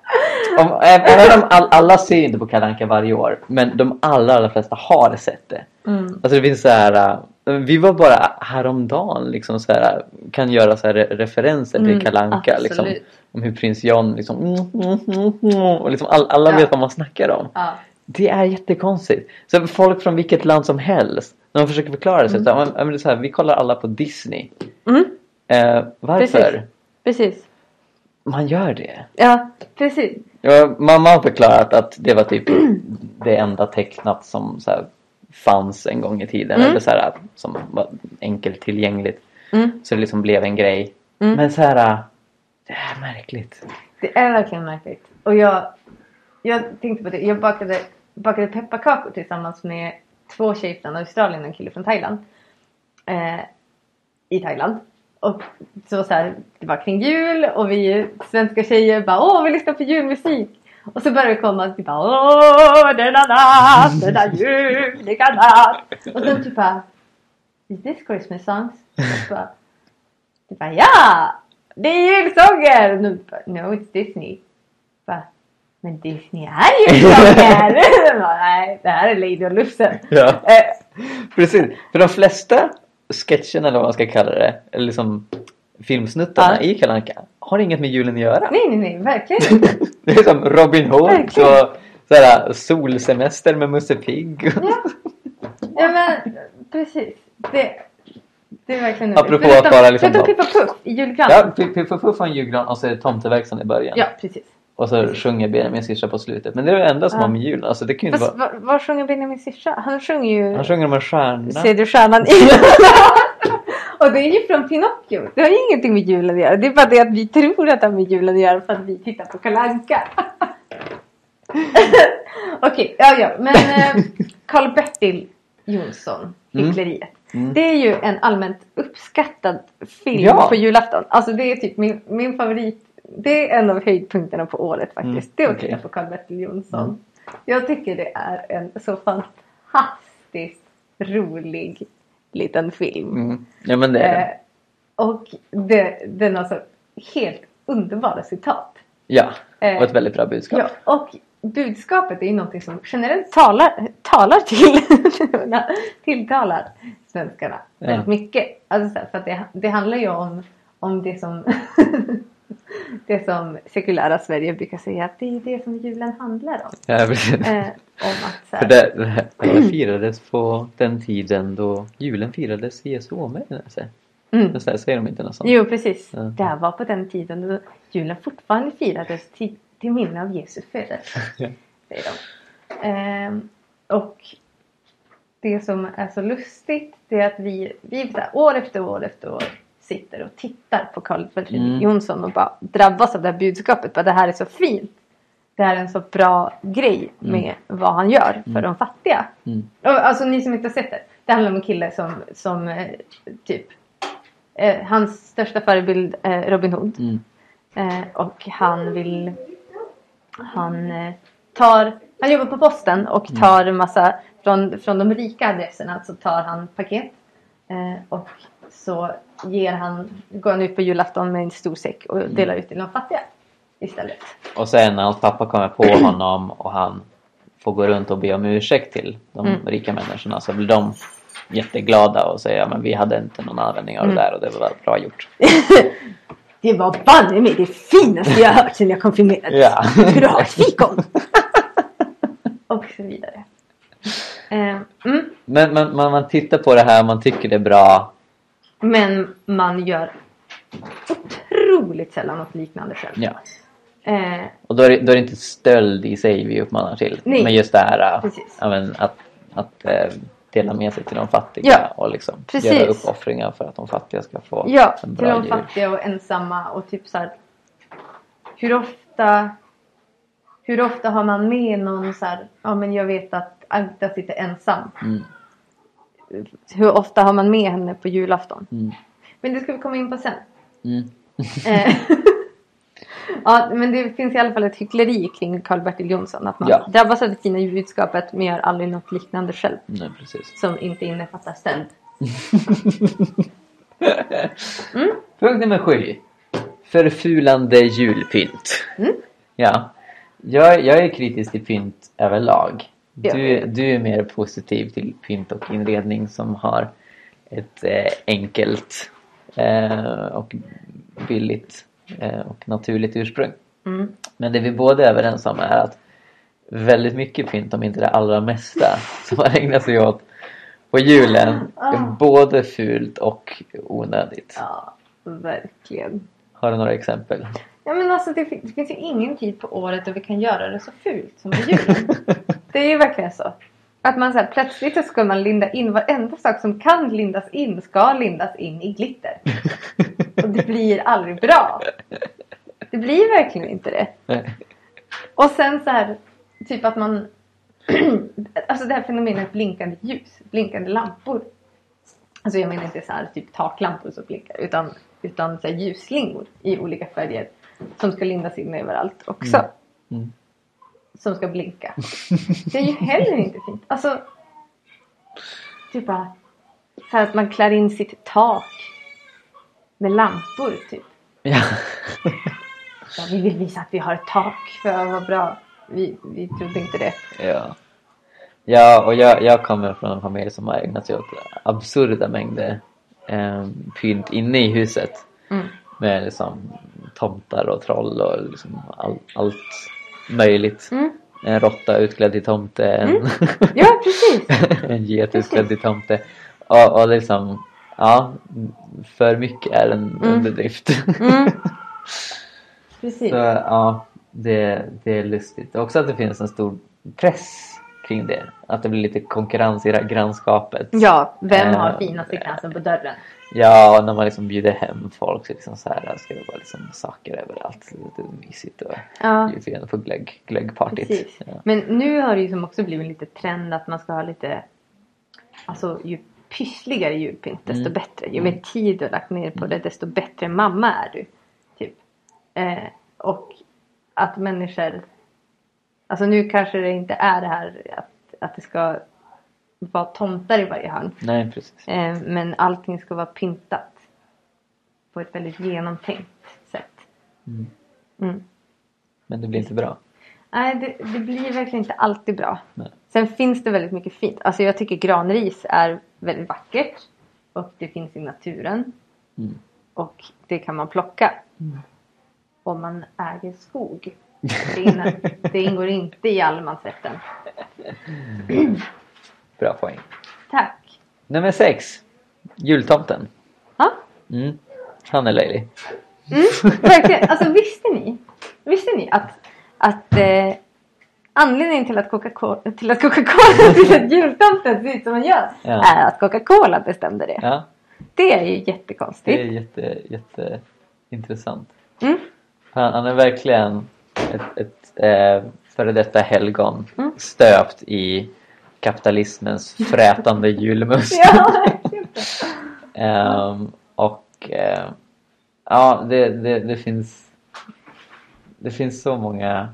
[SPEAKER 2] om, även om all, alla ser ju inte på Kalle Anka varje år, men de allra, allra flesta har sett det.
[SPEAKER 1] Mm.
[SPEAKER 2] Alltså det finns så här. äh, Vi var bara häromdagen liksom så här, äh, kan göra så här re- referenser till
[SPEAKER 1] Mm,
[SPEAKER 2] Kalle Anka.
[SPEAKER 1] absolut.
[SPEAKER 2] Liksom, om hur prins John liksom... Mm, mm, mm, mm, och liksom all, alla
[SPEAKER 1] Ja.
[SPEAKER 2] vet vad man snackar om.
[SPEAKER 1] Ja.
[SPEAKER 2] Det är jättekonstigt. Så folk från vilket land som helst. När de försöker förklara sig. Så, här, "Ja, men det är så här, vi kollar alla på Disney.
[SPEAKER 1] Mm.
[SPEAKER 2] Eh, varför?
[SPEAKER 1] Precis. Precis.
[SPEAKER 2] Man gör det.
[SPEAKER 1] Ja, precis.
[SPEAKER 2] Ja, mamma har förklarat att det var typ det enda tecknat som så här, fanns en gång i tiden.
[SPEAKER 1] Mm.
[SPEAKER 2] Eller så här, som var enkelt tillgängligt.
[SPEAKER 1] Mm.
[SPEAKER 2] Så det liksom blev en grej.
[SPEAKER 1] Mm.
[SPEAKER 2] Men så här, äh, det är märkligt.
[SPEAKER 1] Det är verkligen märkligt. Och jag, jag tänkte på det. Jag bakade, bakade pepparkakor tillsammans med två tjejer från Australien och en kille från Thailand. Eh, I Thailand. Och så, så här, det var kring jul och vi svenska tjejer bara åh vi lyssnar på julmusik. Och så började det komma typ bara åh denna natt, denna ljuvliga natt. Och sen typ bara Is this Christmas songs? Och så bara, typ bara ja! Det är julsånger! Och de bara, No it's Disney. Bara, men Disney är julsånger! De bara, Nej det här är Lady och Lufsen.
[SPEAKER 2] Ja.
[SPEAKER 1] Eh,
[SPEAKER 2] Precis. För de flesta sketcherna eller vad man ska kalla det. Eller liksom filmsnuttarna
[SPEAKER 1] Ja.
[SPEAKER 2] i Kalle Anka har inget med julen att göra.
[SPEAKER 1] nej nej nej verkligen inte.
[SPEAKER 2] Det är som Robin Hood och
[SPEAKER 1] Verkligen.
[SPEAKER 2] så här, äh, solsemester med Musse Pigg.
[SPEAKER 1] Ja men precis. Det, Det är verkligen
[SPEAKER 2] Apropå
[SPEAKER 1] Förutom-
[SPEAKER 2] att bara liksom
[SPEAKER 1] Förutom
[SPEAKER 2] bara-
[SPEAKER 1] Pippa Puff i
[SPEAKER 2] Ja,
[SPEAKER 1] julgranen.
[SPEAKER 2] Piff Piff och Puff har en julgran och så är det tomteverkstan i början.
[SPEAKER 1] Ja, precis.
[SPEAKER 2] Och så sjunger Benjamin Syrsa på slutet. Men det är det enda som
[SPEAKER 1] Ja.
[SPEAKER 2] har med julen. Alltså det kan ju inte
[SPEAKER 1] Fast
[SPEAKER 2] vara...
[SPEAKER 1] vad, vad sjunger Benjamin syrsa? Han sjunger ju
[SPEAKER 2] Han sjunger om en stjärna.
[SPEAKER 1] Ser du stjärnan i Och det är ju från Pinocchio. Det har ju ingenting med julen att göra. Det är bara det att vi tror att det har med julen att göra för att vi tittar på Kalle Anka. Okej, ja ja. Men eh, Karl-Bertil Jonsson,
[SPEAKER 2] Mm.
[SPEAKER 1] Hyckleriet.
[SPEAKER 2] Mm.
[SPEAKER 1] Det är ju en allmänt uppskattad film
[SPEAKER 2] Ja.
[SPEAKER 1] på julafton. Alltså det är typ min, min favorit. Det är en av höjdpunkterna på året faktiskt.
[SPEAKER 2] Mm,
[SPEAKER 1] Det är att
[SPEAKER 2] okej.
[SPEAKER 1] titta på Karl-Bertil Jonsson.
[SPEAKER 2] Mm.
[SPEAKER 1] Jag tycker det är en så fantastiskt rolig liten film.
[SPEAKER 2] Mm. Ja men det är det.
[SPEAKER 1] Eh, och det, den har så helt underbara citat.
[SPEAKER 2] Ja.
[SPEAKER 1] eh,
[SPEAKER 2] Och ett väldigt bra budskap.
[SPEAKER 1] Ja, och budskapet är ju någonting som generellt talar, talar till, tilltalar svenskarna
[SPEAKER 2] Ja.
[SPEAKER 1] väldigt mycket. Alltså, så här, för att det, det handlar ju om, om det som det som sekulära Sverige brukar säga att det är det som julen handlar om.
[SPEAKER 2] Ja, precis.
[SPEAKER 1] Eh, om att så
[SPEAKER 2] För
[SPEAKER 1] här,
[SPEAKER 2] det, det här det här firades på den tiden då julen firades i Jesu omvändelse.
[SPEAKER 1] mm.
[SPEAKER 2] Men så här Säger de inte något sånt?
[SPEAKER 1] Jo, precis.
[SPEAKER 2] Ja.
[SPEAKER 1] Det här var på den tiden då julen fortfarande firades till, till minne av Jesu födelse.
[SPEAKER 2] Ja.
[SPEAKER 1] Säger de. Ehm, och det som är så lustigt det är att vi, vi så här, år efter år efter år sitter och tittar på Carl Fredrik
[SPEAKER 2] Mm.
[SPEAKER 1] Jonsson och bara drabbas av det här budskapet. Bara, det här är så fint. Det här är en så bra grej med vad han gör för
[SPEAKER 2] Mm.
[SPEAKER 1] de fattiga.
[SPEAKER 2] Mm.
[SPEAKER 1] Och, Alltså ni som inte har sett det. Det handlar om en kille som, som eh, typ eh, hans största förebild eh, Robin Hood.
[SPEAKER 2] Mm.
[SPEAKER 1] Eh, och han vill... Han eh, tar... Han jobbar på posten och tar en massa... Från, från de rika adresserna så tar han paket. Eh, och så ger han, går han ut på julafton med en stor säck och delar ut till de fattiga istället.
[SPEAKER 2] Och sen när hans pappa kommer på honom och han får gå runt och be om ursäkt till de
[SPEAKER 1] Mm.
[SPEAKER 2] rika människorna så blir de jätteglada och säger ja men vi hade inte någon användning av
[SPEAKER 1] Mm.
[SPEAKER 2] det där och det var bra gjort.
[SPEAKER 1] Det var banne mig det finaste jag hört sedan jag konfirmerades.
[SPEAKER 2] Ja.
[SPEAKER 1] Hur har ett fikon? och så vidare. Eh, mm.
[SPEAKER 2] Men, men man, man tittar på det här man tycker det är bra.
[SPEAKER 1] Men man gör otroligt sällan något liknande själv.
[SPEAKER 2] Ja.
[SPEAKER 1] Eh,
[SPEAKER 2] Och då är, det, då är det inte stöld i sig vi uppmanar till.
[SPEAKER 1] Nej.
[SPEAKER 2] Men just det här äh,
[SPEAKER 1] Precis.
[SPEAKER 2] ja, men att, att eh, dela med sig till de fattiga
[SPEAKER 1] Ja.
[SPEAKER 2] och liksom
[SPEAKER 1] Precis.
[SPEAKER 2] göra uppoffringar för att de fattiga ska få
[SPEAKER 1] ja,
[SPEAKER 2] en
[SPEAKER 1] till
[SPEAKER 2] bra
[SPEAKER 1] de
[SPEAKER 2] jul.
[SPEAKER 1] fattiga och ensamma och typ så här, Hur ofta Hur ofta har man med någon så här, ja men jag vet att Agda sitter ensam.
[SPEAKER 2] Mm,
[SPEAKER 1] Hur ofta har man med henne på julafton?
[SPEAKER 2] mm,
[SPEAKER 1] Men det ska vi komma in på sen.
[SPEAKER 2] mm.
[SPEAKER 1] Eh, ja, men det finns i alla fall ett hyckleri kring Karl-Bertil Jonsson. Att man
[SPEAKER 2] Ja.
[SPEAKER 1] drabbas av det fina budskapet men gör aldrig något liknande själv.
[SPEAKER 2] Nej, precis.
[SPEAKER 1] Som inte innefattar stöld.
[SPEAKER 2] Punkt nummer sju. Förfulande julpynt.
[SPEAKER 1] Mm.
[SPEAKER 2] Ja. Jag, jag är kritisk till pynt överlag.
[SPEAKER 1] Ja.
[SPEAKER 2] Du, du är mer positiv till pynt och inredning som har ett eh, enkelt eh, och billigt eh, och naturligt ursprung.
[SPEAKER 1] Mm.
[SPEAKER 2] Men det vi båda är överens om är att väldigt mycket pynt, om inte det allra mesta, som man ägnar sig åt på julen
[SPEAKER 1] Ah.
[SPEAKER 2] är både fult och onödigt.
[SPEAKER 1] Ja, verkligen.
[SPEAKER 2] Har du några exempel?
[SPEAKER 1] Ja, men alltså, det, fin- det finns ju ingen tid på året då vi kan göra det så fult som på julen. det är ju verkligen så. Att man så här, plötsligt så ska man linda in varenda sak som kan lindas in ska lindas in i glitter. Och det blir aldrig bra. Det blir verkligen inte det.
[SPEAKER 2] Nej.
[SPEAKER 1] Och sen så här, typ att man... alltså det här fenomenet blinkande ljus, blinkande lampor. Alltså jag menar inte så här typ taklampor som blinkar utan, utan så här ljusslingor i olika färger som ska lindas in överallt också.
[SPEAKER 2] Mm. Mm.
[SPEAKER 1] Som ska blinka. Det är ju heller inte fint. Alltså, typ bara så här att man klär in sitt tak med lampor typ.
[SPEAKER 2] Ja.
[SPEAKER 1] Ja, vi vill visa att vi har ett tak för vad bra. Vi, vi trodde inte det.
[SPEAKER 2] ja. Ja, och jag, jag kommer från en familj som har ägnat sig åt absurda mängder eh, pynt inne i huset.
[SPEAKER 1] Mm.
[SPEAKER 2] Med liksom tomtar och troll och liksom all, allt möjligt.
[SPEAKER 1] Mm.
[SPEAKER 2] En råtta utklädd till tomte, en,
[SPEAKER 1] Ja, precis.
[SPEAKER 2] en get utklädd till tomte. Och, och liksom Ja, för mycket är en
[SPEAKER 1] Mm.
[SPEAKER 2] underdrift.
[SPEAKER 1] Mm. Precis.
[SPEAKER 2] Så ja, det, det är lustigt. Också att det finns en stor press kring det. Att det blir lite konkurrens i grannskapet.
[SPEAKER 1] Ja, vem har
[SPEAKER 2] Eh,
[SPEAKER 1] finaste kransen på dörren?
[SPEAKER 2] Ja, och när man liksom bjuder hem folk så liksom så här, ska det vara liksom saker överallt. Lite mysigt och
[SPEAKER 1] Ja,
[SPEAKER 2] bjuder på glögg, glöggpartyt.
[SPEAKER 1] precis.
[SPEAKER 2] Ja.
[SPEAKER 1] Men nu har det ju som också blivit lite trend att man ska ha lite... Alltså ju pyssligare julpynt desto
[SPEAKER 2] Mm.
[SPEAKER 1] bättre. Ju
[SPEAKER 2] Mm.
[SPEAKER 1] mer tid du har lagt ner på det desto bättre mamma är du. Typ. Eh, och att människor... Alltså nu kanske det inte är det här att, att det ska vara tomtar i varje hörn.
[SPEAKER 2] Nej, precis.
[SPEAKER 1] Eh, men allting ska vara pyntat. På ett väldigt genomtänkt sätt.
[SPEAKER 2] Mm.
[SPEAKER 1] Mm.
[SPEAKER 2] Men det blir inte bra.
[SPEAKER 1] Nej, det, det blir verkligen inte alltid bra.
[SPEAKER 2] Nej.
[SPEAKER 1] Sen finns det väldigt mycket fint. Alltså jag tycker granris är väldigt vackert. Och det finns i naturen.
[SPEAKER 2] Mm.
[SPEAKER 1] Och det kan man plocka. Om man äger skog. Det, inna, det ingår inte i allemansrätten.
[SPEAKER 2] Bra poäng.
[SPEAKER 1] Tack!
[SPEAKER 2] Nummer sex. Jultomten.
[SPEAKER 1] Ja,
[SPEAKER 2] Mm. Han är löjlig.
[SPEAKER 1] verkligen. Alltså visste ni? Visste ni att, att eh, anledningen till att Coca-Cola, till att, Coca-Cola, till att jultomten ser ut som han gör
[SPEAKER 2] Ja.
[SPEAKER 1] är att Coca-Cola bestämde det.
[SPEAKER 2] Ja,
[SPEAKER 1] Det är ju
[SPEAKER 2] det är
[SPEAKER 1] jättekonstigt.
[SPEAKER 2] jätte, jätte intressant.
[SPEAKER 1] Mm.
[SPEAKER 2] Han, han är verkligen ett, ett eh, före detta helgon
[SPEAKER 1] Mm.
[SPEAKER 2] stöpt i kapitalismens frätande julmust.
[SPEAKER 1] Ja, exakt.
[SPEAKER 2] Ehm, och eh, ja, det, det, det finns det finns så många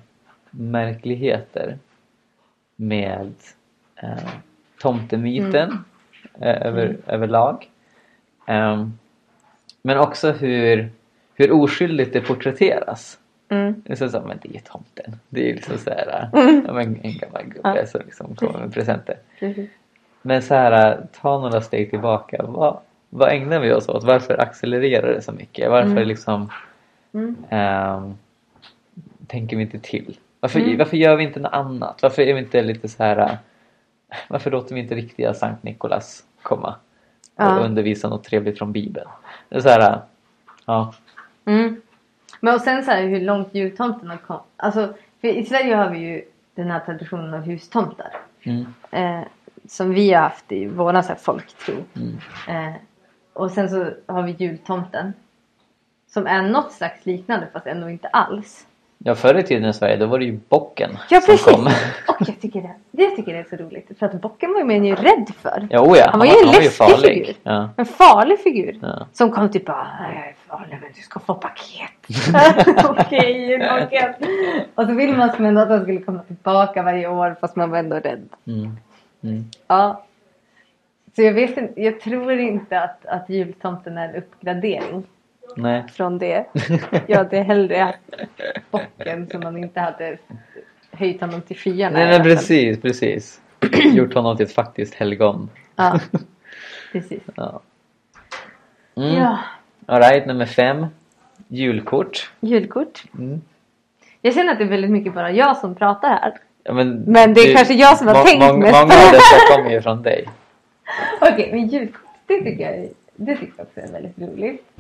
[SPEAKER 2] märkligheter med eh, tomtemyten eh, över, överlag. Ehm, men också hur, hur oskyldigt det porträtteras.
[SPEAKER 1] mm.
[SPEAKER 2] Det är så, så här, men det är ju tomten. Det är ju liksom så här, ja, men en gammal gubbe
[SPEAKER 1] Ja.
[SPEAKER 2] som liksom kommer med presenter.
[SPEAKER 1] precis.
[SPEAKER 2] Men så här, äh, ta några steg tillbaka. Vad, vad ägnar vi oss åt? Varför accelererar det så mycket? Varför
[SPEAKER 1] Mm.
[SPEAKER 2] liksom,
[SPEAKER 1] Mm.
[SPEAKER 2] ehm, tänker vi inte till? Varför,
[SPEAKER 1] Mm.
[SPEAKER 2] varför gör vi inte något annat? Varför är vi inte lite så här... äh, Varför låter vi inte riktiga Sankt Nikolas komma och
[SPEAKER 1] Ja.
[SPEAKER 2] undervisa något trevligt från Bibeln? Det är så här, äh, ja,
[SPEAKER 1] Mm. Men och sen så här hur långt jultomten har kommit. Alltså, för I Sverige har vi ju den här traditionen av hustomtar.
[SPEAKER 2] mm,
[SPEAKER 1] Eh, som vi har haft i våran så här, folktro.
[SPEAKER 2] mm,
[SPEAKER 1] Eh, och sen så har vi jultomten. Som är något slags liknande fast ändå inte alls.
[SPEAKER 2] ja, förr i tiden i Sverige då var det ju bocken
[SPEAKER 1] Ja
[SPEAKER 2] som
[SPEAKER 1] precis!
[SPEAKER 2] kom.
[SPEAKER 1] Och jag tycker, det, jag tycker det är så roligt. För att bocken var ju man ju rädd för.
[SPEAKER 2] Ja, oh ja,
[SPEAKER 1] Han var ju en läskig figur.
[SPEAKER 2] farlig. Ja,
[SPEAKER 1] En farlig figur.
[SPEAKER 2] ja.
[SPEAKER 1] Som kom typ bara "Nej, jag är farlig men du ska få paket. Okej, paket. Och så vill man som ändå att han skulle komma tillbaka varje år fast man var ändå rädd.
[SPEAKER 2] Mm, mm.
[SPEAKER 1] Ja. Så jag vet inte, jag tror inte att, att jultomten är en uppgradering
[SPEAKER 2] Nej.
[SPEAKER 1] från det. Jag hade hellre haft bocken som man inte hade höjt honom till skyarna.
[SPEAKER 2] Nej,
[SPEAKER 1] i
[SPEAKER 2] nej
[SPEAKER 1] alla fall.
[SPEAKER 2] precis, precis. Gjort honom till ett faktiskt helgon.
[SPEAKER 1] Ja, precis.
[SPEAKER 2] Ja. Mm.
[SPEAKER 1] Ja,
[SPEAKER 2] Alright, nummer fem. Julkort.
[SPEAKER 1] julkort.
[SPEAKER 2] Mm.
[SPEAKER 1] Jag känner att det är väldigt mycket bara jag som pratar här.
[SPEAKER 2] Ja, men,
[SPEAKER 1] Men det är kanske jag som har tänkt
[SPEAKER 2] mest.
[SPEAKER 1] mest.
[SPEAKER 2] Många av dessa kommer ju från dig.
[SPEAKER 1] Okej, men julkort, det tycker jag, det tycker jag också är väldigt roligt.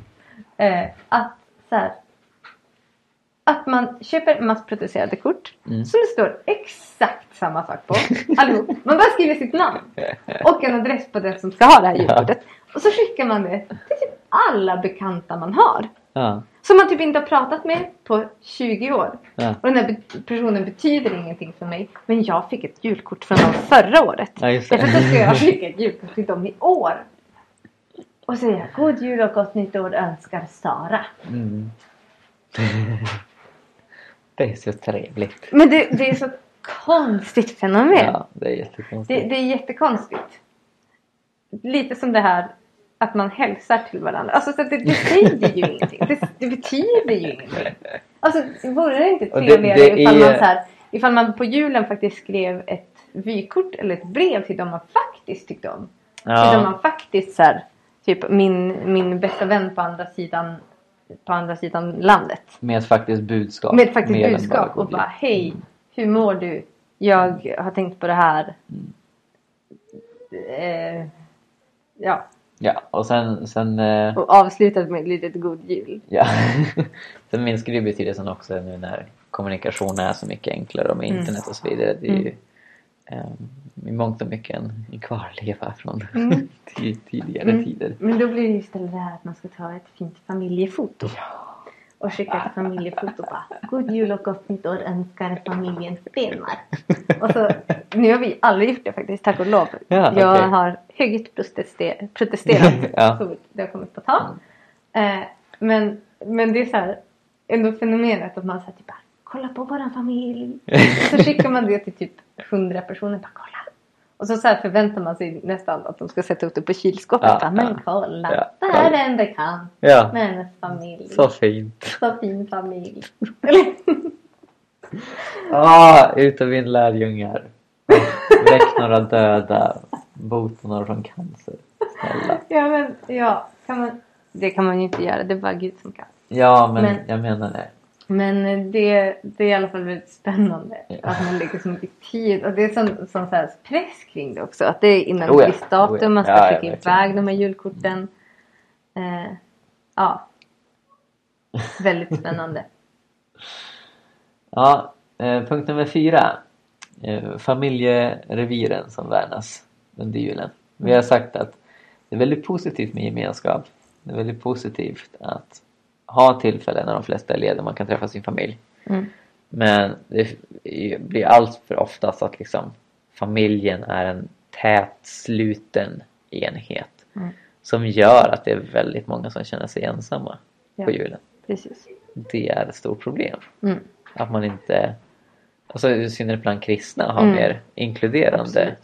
[SPEAKER 1] Eh, att så här, att man köper massproducerade kort
[SPEAKER 2] Mm.
[SPEAKER 1] som det står exakt samma sak på. Allihop. Man bara skriver sitt namn och en adress på den som ska ha det här julkortet. Och så skickar man det till typ alla bekanta man har.
[SPEAKER 2] Ja,
[SPEAKER 1] Som man typ inte har pratat med på 20 år.
[SPEAKER 2] ja.
[SPEAKER 1] Och den här be- personen betyder ingenting för mig. Men jag fick ett julkort från dem förra året.
[SPEAKER 2] ja just
[SPEAKER 1] Därför att då ska
[SPEAKER 2] det.
[SPEAKER 1] jag skicka ett julkort till dem i år. Och säga God Jul och Gott Nytt År önskar Sara.
[SPEAKER 2] Mm. Det är så trevligt.
[SPEAKER 1] Men det, det är så konstigt fenomen.
[SPEAKER 2] Ja, det är
[SPEAKER 1] Det,
[SPEAKER 2] jättekonstigt.
[SPEAKER 1] det är jättekonstigt. Lite som det här att man hälsar till varandra. Alltså så att det, det säger ju ingenting. Det, det betyder ju ingenting. Alltså vore det inte
[SPEAKER 2] Och det-
[SPEAKER 1] trevligare
[SPEAKER 2] det
[SPEAKER 1] ifall, man
[SPEAKER 2] är-
[SPEAKER 1] så här, ifall man på julen faktiskt skrev ett vykort eller ett brev till dem man faktiskt tyckte om. Utan
[SPEAKER 2] Ja,
[SPEAKER 1] man faktiskt så här, typ min, min bästa vän på andra sidan, på andra sidan landet.
[SPEAKER 2] med ett faktiskt budskap.
[SPEAKER 1] Med ett faktiskt
[SPEAKER 2] Mer än
[SPEAKER 1] budskap
[SPEAKER 2] god
[SPEAKER 1] och
[SPEAKER 2] jul.
[SPEAKER 1] bara hej, hur mår du?
[SPEAKER 2] Mm.
[SPEAKER 1] Jag har tänkt på det här. Eh, ja,
[SPEAKER 2] Ja, och sen, sen eh,
[SPEAKER 1] Och avslutat med ett litet god jul.
[SPEAKER 2] Ja. Sen minskar det ju betydelsen också nu när kommunikation är så mycket enklare och med
[SPEAKER 1] Mm.
[SPEAKER 2] internet och så vidare. Det är ju
[SPEAKER 1] Mm.
[SPEAKER 2] um, i mångt och mycket en en kvarleva från
[SPEAKER 1] Mm.
[SPEAKER 2] ti- tidigare
[SPEAKER 1] Mm.
[SPEAKER 2] tider.
[SPEAKER 1] Men då blir det ju istället det här att man ska ta ett fint familjefoto. Och skicka ett familjefoto bara. God jul och gott nytt år önskar familjen Stenmark. Och så, nu har vi aldrig gjort det faktiskt, tack och lov.
[SPEAKER 2] Ja,
[SPEAKER 1] jag
[SPEAKER 2] okej.
[SPEAKER 1] har högt protester- protesterat.
[SPEAKER 2] Ja.
[SPEAKER 1] så Det har kommit på tal. Eh, men, men det är så här, ändå fenomenet att man säger typ bara, kolla på våran familj. Och så skickar man det till typ hundra personer. Bara, kolla. Och så, så här förväntar man sig nästan att de ska sätta upp det på kylskåpet.
[SPEAKER 2] Ja,
[SPEAKER 1] bara, men
[SPEAKER 2] ja.
[SPEAKER 1] kolla,
[SPEAKER 2] Ja,
[SPEAKER 1] där
[SPEAKER 2] kolla.
[SPEAKER 1] är en bekant
[SPEAKER 2] Ja,
[SPEAKER 1] med en familj.
[SPEAKER 2] så fint.
[SPEAKER 1] Så fin familj. Eller?
[SPEAKER 2] Ah, ut och vinn lärjungar. Väck några döda. Bota några från cancer. Snälla.
[SPEAKER 1] ja, men, ja, kan man... Det kan man ju inte göra, det är bara Gud som kan.
[SPEAKER 2] Ja, men,
[SPEAKER 1] Men-
[SPEAKER 2] jag menar det.
[SPEAKER 1] Men eh, det, det är i alla fall väldigt spännande
[SPEAKER 2] Ja.
[SPEAKER 1] att man lägger så mycket tid. Och det är sån, sån så här press kring det också. Att det är innan
[SPEAKER 2] Oh ja,
[SPEAKER 1] ett visst datum
[SPEAKER 2] oh ja.
[SPEAKER 1] man ska
[SPEAKER 2] Ja, ja,
[SPEAKER 1] skicka
[SPEAKER 2] verkligen.
[SPEAKER 1] iväg de här julkorten. Eh, ja. Väldigt spännande.
[SPEAKER 2] Ja, eh, punkt nummer fyra. Eh, familjereviren som värnas under julen. Vi har sagt att det är väldigt positivt med gemenskap. Det är väldigt positivt att ha tillfällen när de flesta är lediga och man kan träffa sin familj.
[SPEAKER 1] Mm.
[SPEAKER 2] Men det f- blir allt för ofta så att liksom familjen är en tätsluten enhet
[SPEAKER 1] Mm.
[SPEAKER 2] som gör att det är väldigt många som känner sig ensamma
[SPEAKER 1] Ja.
[SPEAKER 2] på julen.
[SPEAKER 1] Precis.
[SPEAKER 2] Det är ett stort problem.
[SPEAKER 1] Mm.
[SPEAKER 2] Att man inte, alltså i synnerhet bland kristna, har
[SPEAKER 1] Mm.
[SPEAKER 2] mer inkluderande
[SPEAKER 1] Absolut.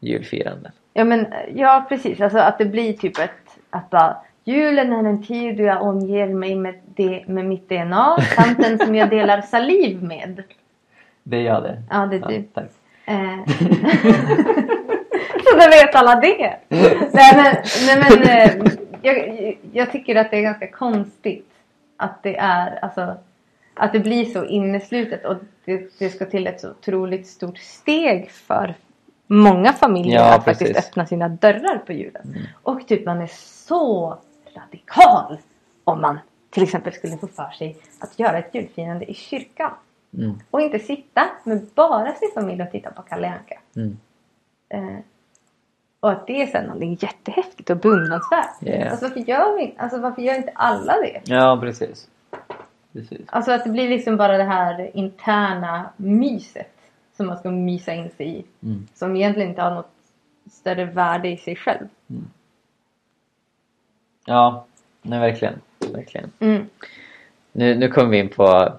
[SPEAKER 2] julfiranden.
[SPEAKER 1] Ja, men, ja precis. Alltså att det blir typ ett, att bara, julen är en tid då jag omger mig med, det, med mitt DNA samt den som jag delar saliv med.
[SPEAKER 2] Det är jag det.
[SPEAKER 1] Ja, det är typ du.
[SPEAKER 2] tack.
[SPEAKER 1] Eh. Så då vet alla det. nej men, nej, men eh, jag, jag tycker att det är ganska konstigt att det är alltså, att det blir så inneslutet och det, det ska till ett så otroligt stort steg för många familjer
[SPEAKER 2] Ja,
[SPEAKER 1] att
[SPEAKER 2] precis. Mm.
[SPEAKER 1] faktiskt öppna sina dörrar på julen. Och typ man är så radikal om man till exempel skulle få för sig att göra ett julfirande i kyrkan.
[SPEAKER 2] Mm.
[SPEAKER 1] Och inte sitta med bara sin familj och titta på Kalle Anka.
[SPEAKER 2] Mm.
[SPEAKER 1] Eh, och att det är sen någonting jättehäftigt och beundransvärt.
[SPEAKER 2] Yeah.
[SPEAKER 1] Alltså, varför gör vi, alltså varför gör inte alla det?
[SPEAKER 2] Ja, precis. precis.
[SPEAKER 1] Alltså att det blir liksom bara det här interna myset som man ska mysa in sig i.
[SPEAKER 2] Mm.
[SPEAKER 1] Som egentligen inte har något större värde i sig själv.
[SPEAKER 2] Ja, nej, verkligen. verkligen.
[SPEAKER 1] Mm.
[SPEAKER 2] Nu, nu kommer vi in på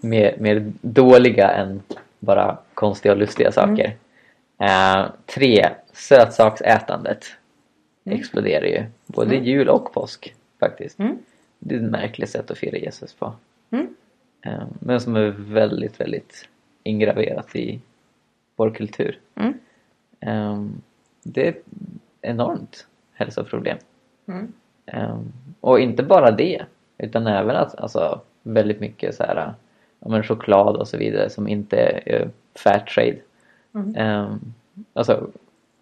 [SPEAKER 2] mer, mer dåliga än bara konstiga och
[SPEAKER 1] Mm.
[SPEAKER 2] lustiga saker. Eh, tre, sötsaksätandet
[SPEAKER 1] Mm.
[SPEAKER 2] exploderar ju. Både
[SPEAKER 1] Mm.
[SPEAKER 2] jul och påsk faktiskt.
[SPEAKER 1] Mm.
[SPEAKER 2] Det är ett märkligt sätt att fira Jesus på.
[SPEAKER 1] Mm.
[SPEAKER 2] Eh, men som är väldigt, väldigt ingraverat i vår kultur.
[SPEAKER 1] Mm.
[SPEAKER 2] Eh, det är ett enormt hälsoproblem.
[SPEAKER 1] Mm.
[SPEAKER 2] Ehm, och inte bara det, utan även att alltså, väldigt mycket så här, ja, men choklad och så vidare som inte är eh, fair trade.
[SPEAKER 1] Mm.
[SPEAKER 2] Ehm, alltså,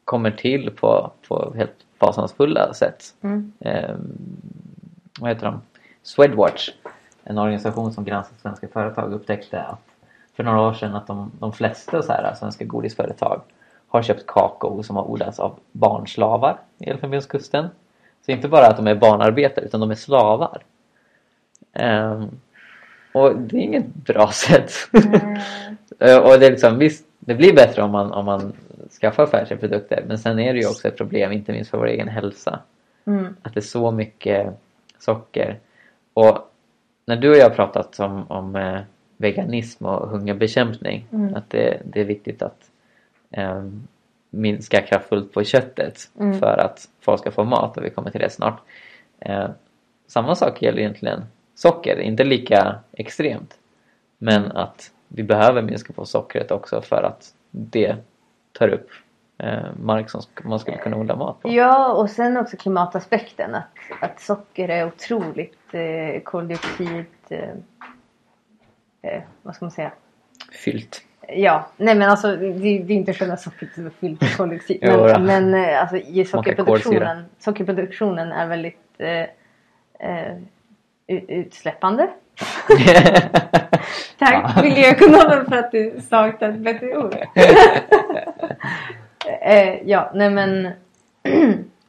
[SPEAKER 2] kommer till på, på helt fasansfulla sätt.
[SPEAKER 1] Mm.
[SPEAKER 2] Ehm, vad heter de? Swedwatch, en organisation som granskar svenska företag, upptäckte att för några år sedan att de, de flesta så här, svenska godisföretag har köpt kakao som har odlats av barnslavar i Elfenbenskusten. Så inte bara att de är barnarbetare utan de är slavar. Ehm, och det är inget bra sätt.
[SPEAKER 1] Eh,
[SPEAKER 2] Eh, Och det, är liksom, visst, det blir bättre om man, om man skaffar färska produkter men sen är det ju också ett problem, inte minst för vår egen hälsa
[SPEAKER 1] Mm.
[SPEAKER 2] att det är så mycket socker. Och när du och jag har pratat om, om eh, veganism och hungerbekämpning,
[SPEAKER 1] Mm.
[SPEAKER 2] att det, det är viktigt att eh, minska kraftfullt på köttet
[SPEAKER 1] Mm.
[SPEAKER 2] för att folk ska få mat och vi kommer till det snart. Eh, samma sak gäller egentligen socker, inte lika extremt. Men att vi behöver minska på sockret också för att det tar upp eh, mark som sk- man skulle kunna odla mat på.
[SPEAKER 1] Ja, och sen också klimataspekten. Att, att socker är otroligt eh, koldioxid... Eh, eh, vad ska man säga?
[SPEAKER 2] Fyllt.
[SPEAKER 1] Ja, nej men alltså det, det är inte själva sockret som är fyllt med koldioxid.
[SPEAKER 2] Jo då.
[SPEAKER 1] men men eh, alltså, i
[SPEAKER 2] Smakar kolsyra.
[SPEAKER 1] sockerproduktionen, sockerproduktionen är väldigt eh, eh, u- utsläppande. Tack
[SPEAKER 2] Ja.
[SPEAKER 1] miljöekonomer för att du saknar ett bättre ord. eh, ja, nej men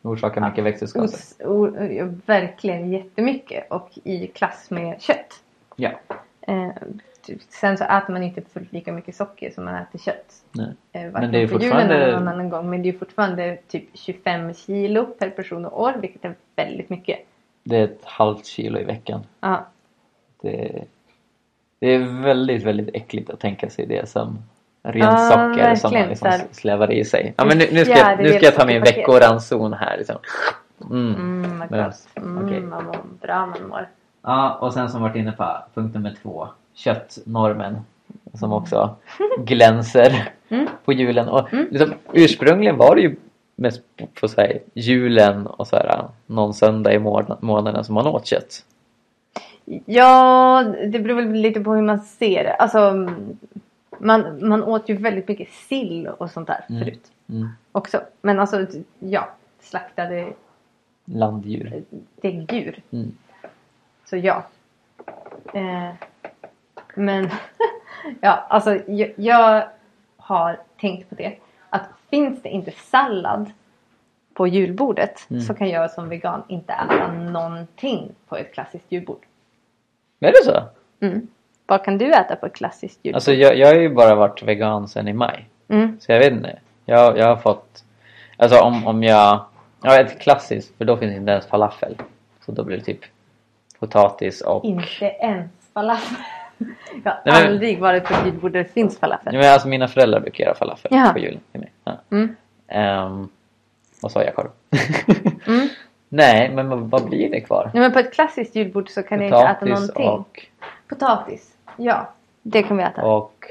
[SPEAKER 2] Orsakar mycket
[SPEAKER 1] os,
[SPEAKER 2] växthusgaser.
[SPEAKER 1] o, verkligen jättemycket och i klass med kött.
[SPEAKER 2] Ja.
[SPEAKER 1] Eh, typ, sen så äter man inte fullt lika mycket socker som man äter kött.
[SPEAKER 2] Nej.
[SPEAKER 1] Eh, varken
[SPEAKER 2] Men det är ju
[SPEAKER 1] på julen
[SPEAKER 2] fortfarande-
[SPEAKER 1] eller någon annan gång. Men det är ju fortfarande typ 25 kilo per person och år, vilket är väldigt mycket.
[SPEAKER 2] Det är ett halvt kilo i veckan.
[SPEAKER 1] Ja,
[SPEAKER 2] Det, det är väldigt, väldigt äckligt att tänka sig det som rent
[SPEAKER 1] Ja,
[SPEAKER 2] socker som man
[SPEAKER 1] verkligen, så
[SPEAKER 2] liksom
[SPEAKER 1] här.
[SPEAKER 2] slävar i sig. Ja, men nu, nu, ska jag, nu ska jag ta min veckoranson här. Liksom. Mm.
[SPEAKER 1] mm, vad
[SPEAKER 2] Men-
[SPEAKER 1] gott. Mm,
[SPEAKER 2] okej.
[SPEAKER 1] vad mår bra man mår.
[SPEAKER 2] Ja, och sen som varit inne på punkt nummer två. Köttnormen. Som också glänser
[SPEAKER 1] Mm.
[SPEAKER 2] på julen. Och
[SPEAKER 1] Mm.
[SPEAKER 2] liksom, ursprungligen var det ju mest på, på så här, julen och så här, någon söndag i mån- månaden som man åt kött.
[SPEAKER 1] Ja, det beror väl lite på hur man ser det. Alltså, man, man åt ju väldigt mycket sill och sånt där
[SPEAKER 2] Mm.
[SPEAKER 1] förut
[SPEAKER 2] Mm.
[SPEAKER 1] också. Men alltså, ja, slaktade
[SPEAKER 2] Landdjur.
[SPEAKER 1] däggdjur.
[SPEAKER 2] Mm.
[SPEAKER 1] Så ja. Eh, men ja, alltså jag, jag har tänkt på det. Att finns det inte sallad på julbordet
[SPEAKER 2] Mm.
[SPEAKER 1] så kan jag som vegan inte äta någonting på ett klassiskt julbord.
[SPEAKER 2] Är det så?
[SPEAKER 1] Mm. Vad kan du äta på ett klassiskt julbord?
[SPEAKER 2] Alltså jag, jag har ju bara varit vegan sedan i maj.
[SPEAKER 1] mm.
[SPEAKER 2] Så jag vet inte. Jag, jag har fått... Alltså om, om jag... Ja, ett klassiskt. För då finns inte ens falafel. Så då blir det typ potatis och...
[SPEAKER 1] Inte ens falafel. Jag har
[SPEAKER 2] Nej, men-
[SPEAKER 1] aldrig varit på ett julbord där det finns falafel.
[SPEAKER 2] Nej, men alltså mina föräldrar brukar göra falafel
[SPEAKER 1] Jaha.
[SPEAKER 2] på julen till mig. Ja.
[SPEAKER 1] Mm.
[SPEAKER 2] Ehm, och sojakorv.
[SPEAKER 1] Mm.
[SPEAKER 2] Nej, men vad- vad blir det kvar?
[SPEAKER 1] Nej, men på ett klassiskt julbord så kan jag inte äta
[SPEAKER 2] Potatis
[SPEAKER 1] någonting.
[SPEAKER 2] och,
[SPEAKER 1] Potatis. Ja, det kan vi äta.
[SPEAKER 2] och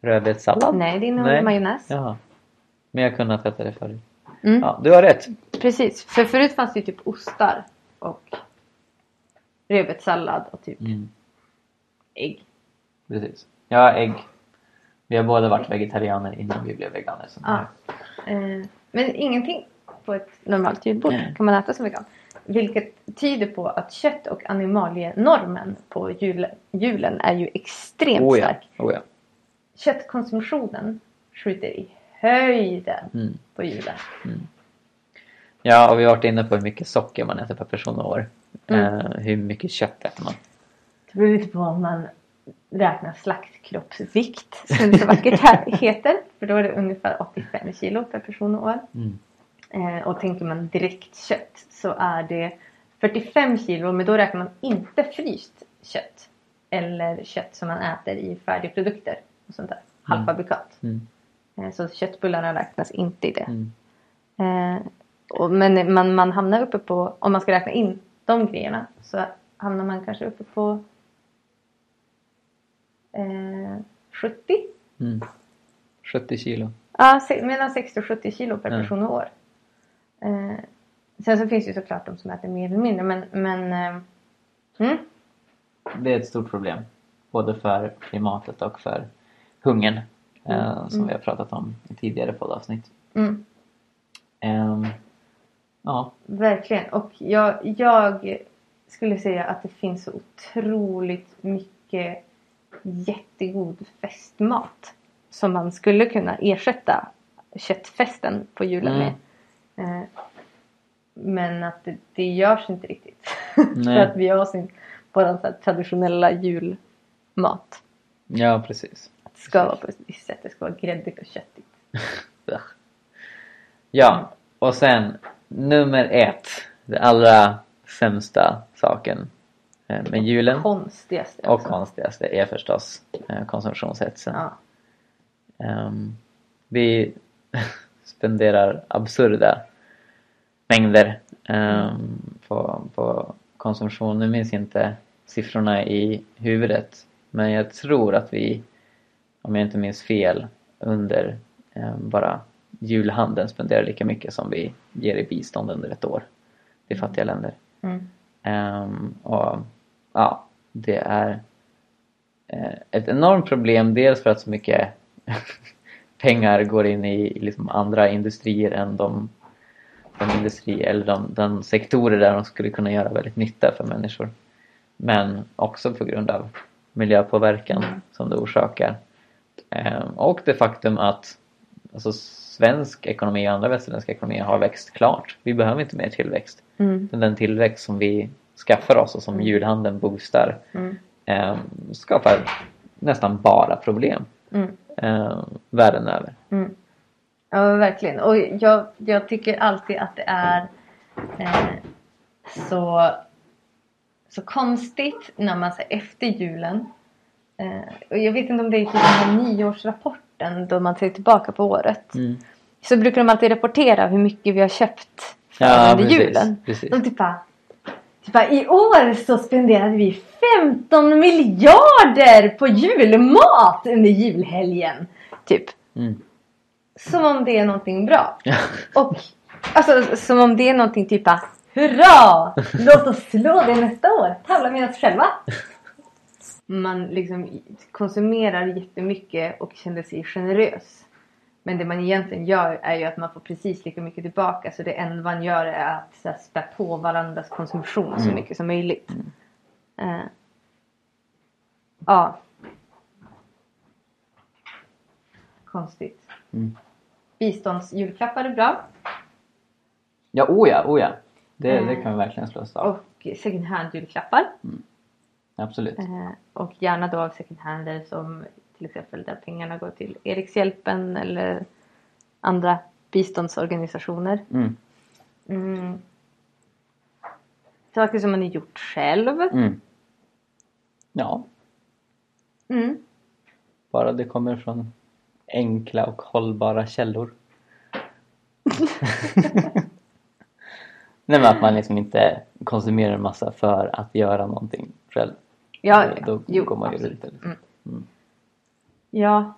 [SPEAKER 2] rödbetssallad?
[SPEAKER 1] Nej, det innehåller
[SPEAKER 2] Nej.
[SPEAKER 1] majonnäs.
[SPEAKER 2] Jaha. Men jag har kunnat äta det förut.
[SPEAKER 1] Mm,
[SPEAKER 2] Ja, du har rätt.
[SPEAKER 1] Precis, för förut fanns det ju typ ostar och rödbetssallad och typ
[SPEAKER 2] Mm.
[SPEAKER 1] ägg.
[SPEAKER 2] Precis. Ja, ägg. Vi har båda varit vegetarianer innan vi blev veganer. Så
[SPEAKER 1] Ja. Eh, men ingenting på ett normalt julbord kan man äta som vegan. Vilket tyder på att kött och animalienormen på jul, julen är ju extremt
[SPEAKER 2] Oh ja.
[SPEAKER 1] stark.
[SPEAKER 2] Oh, ja.
[SPEAKER 1] Köttkonsumtionen skjuter i höjden
[SPEAKER 2] Mm.
[SPEAKER 1] på julen.
[SPEAKER 2] ja, och vi har varit inne på hur mycket socker man äter per person och år.
[SPEAKER 1] Mm.
[SPEAKER 2] Eh, hur mycket kött äter man?
[SPEAKER 1] Det beror lite på om man räknar slaktkroppsvikt som det så vackert här heter. För då är det ungefär 85 kilo per person och år.
[SPEAKER 2] Mm.
[SPEAKER 1] Eh, och tänker man direkt kött så är det 45 kilo men då räknar man inte fryst kött. Eller kött som man äter i färdigprodukter och sånt där. Halvfabrikat.
[SPEAKER 2] Mm.
[SPEAKER 1] Eh, så köttbullarna räknas inte i det.
[SPEAKER 2] Mm.
[SPEAKER 1] Eh, och, men man, man hamnar uppe på, om man ska räkna in de grejerna, så hamnar man kanske uppe på eh, 70?
[SPEAKER 2] Mm. 70 kilo.
[SPEAKER 1] Ja, se, mellan 60 och 70 kilo per
[SPEAKER 2] Mm.
[SPEAKER 1] person och år. Eh, sen så finns det ju såklart de som äter mer eller mindre, men, men eh, mm,
[SPEAKER 2] Det är ett stort problem. Både för klimatet och för hungern. Eh,
[SPEAKER 1] Mm.
[SPEAKER 2] som
[SPEAKER 1] Mm.
[SPEAKER 2] vi har pratat om i tidigare poddavsnitt.
[SPEAKER 1] mm,
[SPEAKER 2] Ehm, ja,
[SPEAKER 1] verkligen. Och jag, jag skulle säga att det finns så otroligt mycket jättegod festmat som man skulle kunna ersätta köttfesten på julen
[SPEAKER 2] Mm.
[SPEAKER 1] med. Eh, Men att det, det görs inte riktigt. För
[SPEAKER 2] Nej.
[SPEAKER 1] att vi har sin, vår så här traditionella julmat.
[SPEAKER 2] ja precis.
[SPEAKER 1] Att det ska vara på ett visst sätt. Det ska vara gräddigt och köttigt.
[SPEAKER 2] Ja, och sen nummer ett. Den allra sämsta saken eh, med julen
[SPEAKER 1] Konstigaste.
[SPEAKER 2] och
[SPEAKER 1] också.
[SPEAKER 2] konstigaste är förstås eh, konsumtionshetsen.
[SPEAKER 1] Ja.
[SPEAKER 2] Ehm, vi spenderar absurda mängder ehm, på, på konsumtion. Nu minns jag inte siffrorna i huvudet men jag tror att vi, om jag inte minns fel, under ehm, bara julhandeln spenderar lika mycket som vi ger i bistånd under ett år till fattiga länder.
[SPEAKER 1] Mm.
[SPEAKER 2] Ehm, och ja, det är eh, ett enormt problem. Dels för att så mycket pengar går in i i liksom andra industrier än de, de industrier eller de, den sektorer där de skulle kunna göra väldigt nytta för människor. Men också på grund av miljöpåverkan som det orsakar. Eh, och det faktum att alltså, svensk ekonomi och andra västerländska ekonomier har växt klart. Vi behöver inte mer tillväxt.
[SPEAKER 1] Mm.
[SPEAKER 2] Men den tillväxt som vi skaffar oss och som julhandeln boostar
[SPEAKER 1] Mm.
[SPEAKER 2] eh, skapar nästan bara problem
[SPEAKER 1] Mm.
[SPEAKER 2] eh, världen över.
[SPEAKER 1] Mm. Ja, men verkligen. Och jag, jag tycker alltid att det är eh, så, så konstigt när man säger efter julen. Eh, och jag vet inte om det är i den här nyårsrapporten då man ser tillbaka på året. Så brukar de alltid rapportera hur mycket vi har köpt
[SPEAKER 2] Ja,
[SPEAKER 1] under
[SPEAKER 2] precis,
[SPEAKER 1] julen.
[SPEAKER 2] precis.
[SPEAKER 1] Och typ bara, typ bara, i år så spenderade vi 15 miljarder på julmat under julhelgen. Typ.
[SPEAKER 2] Mm.
[SPEAKER 1] Som om det är någonting bra.
[SPEAKER 2] Ja,
[SPEAKER 1] Och alltså, som om det är någonting typ att Hurra! Låt oss slå det nästa år! Tävla med oss själva! Man liksom konsumerar jättemycket och känner sig generös. Men det man egentligen gör är ju att man får precis lika mycket tillbaka. Så det enda man gör är att så här, spä på varandras konsumtion så
[SPEAKER 2] Mm.
[SPEAKER 1] mycket som möjligt. Eh. Ja. Konstigt.
[SPEAKER 2] Mm.
[SPEAKER 1] Biståndsjulklappar är bra.
[SPEAKER 2] ja oh ja, oh ja. Det,
[SPEAKER 1] Eh.
[SPEAKER 2] det kan vi verkligen slå oss av.
[SPEAKER 1] och second hand-julklappar.
[SPEAKER 2] Absolut.
[SPEAKER 1] Eh, och gärna då av second hander som till exempel där pengarna går till Erikshjälpen eller andra biståndsorganisationer.
[SPEAKER 2] Mm.
[SPEAKER 1] Mm. Saker som man har gjort själv.
[SPEAKER 2] Mm. Ja,
[SPEAKER 1] Mm.
[SPEAKER 2] bara det kommer från enkla och hållbara källor. Nej men att man liksom inte konsumerar en massa för att göra någonting själv.
[SPEAKER 1] Ja,
[SPEAKER 2] Då-
[SPEAKER 1] ja.
[SPEAKER 2] Eh, då går man ju
[SPEAKER 1] absolut.
[SPEAKER 2] runt det lite.
[SPEAKER 1] Mm.
[SPEAKER 2] Mm.
[SPEAKER 1] Ja.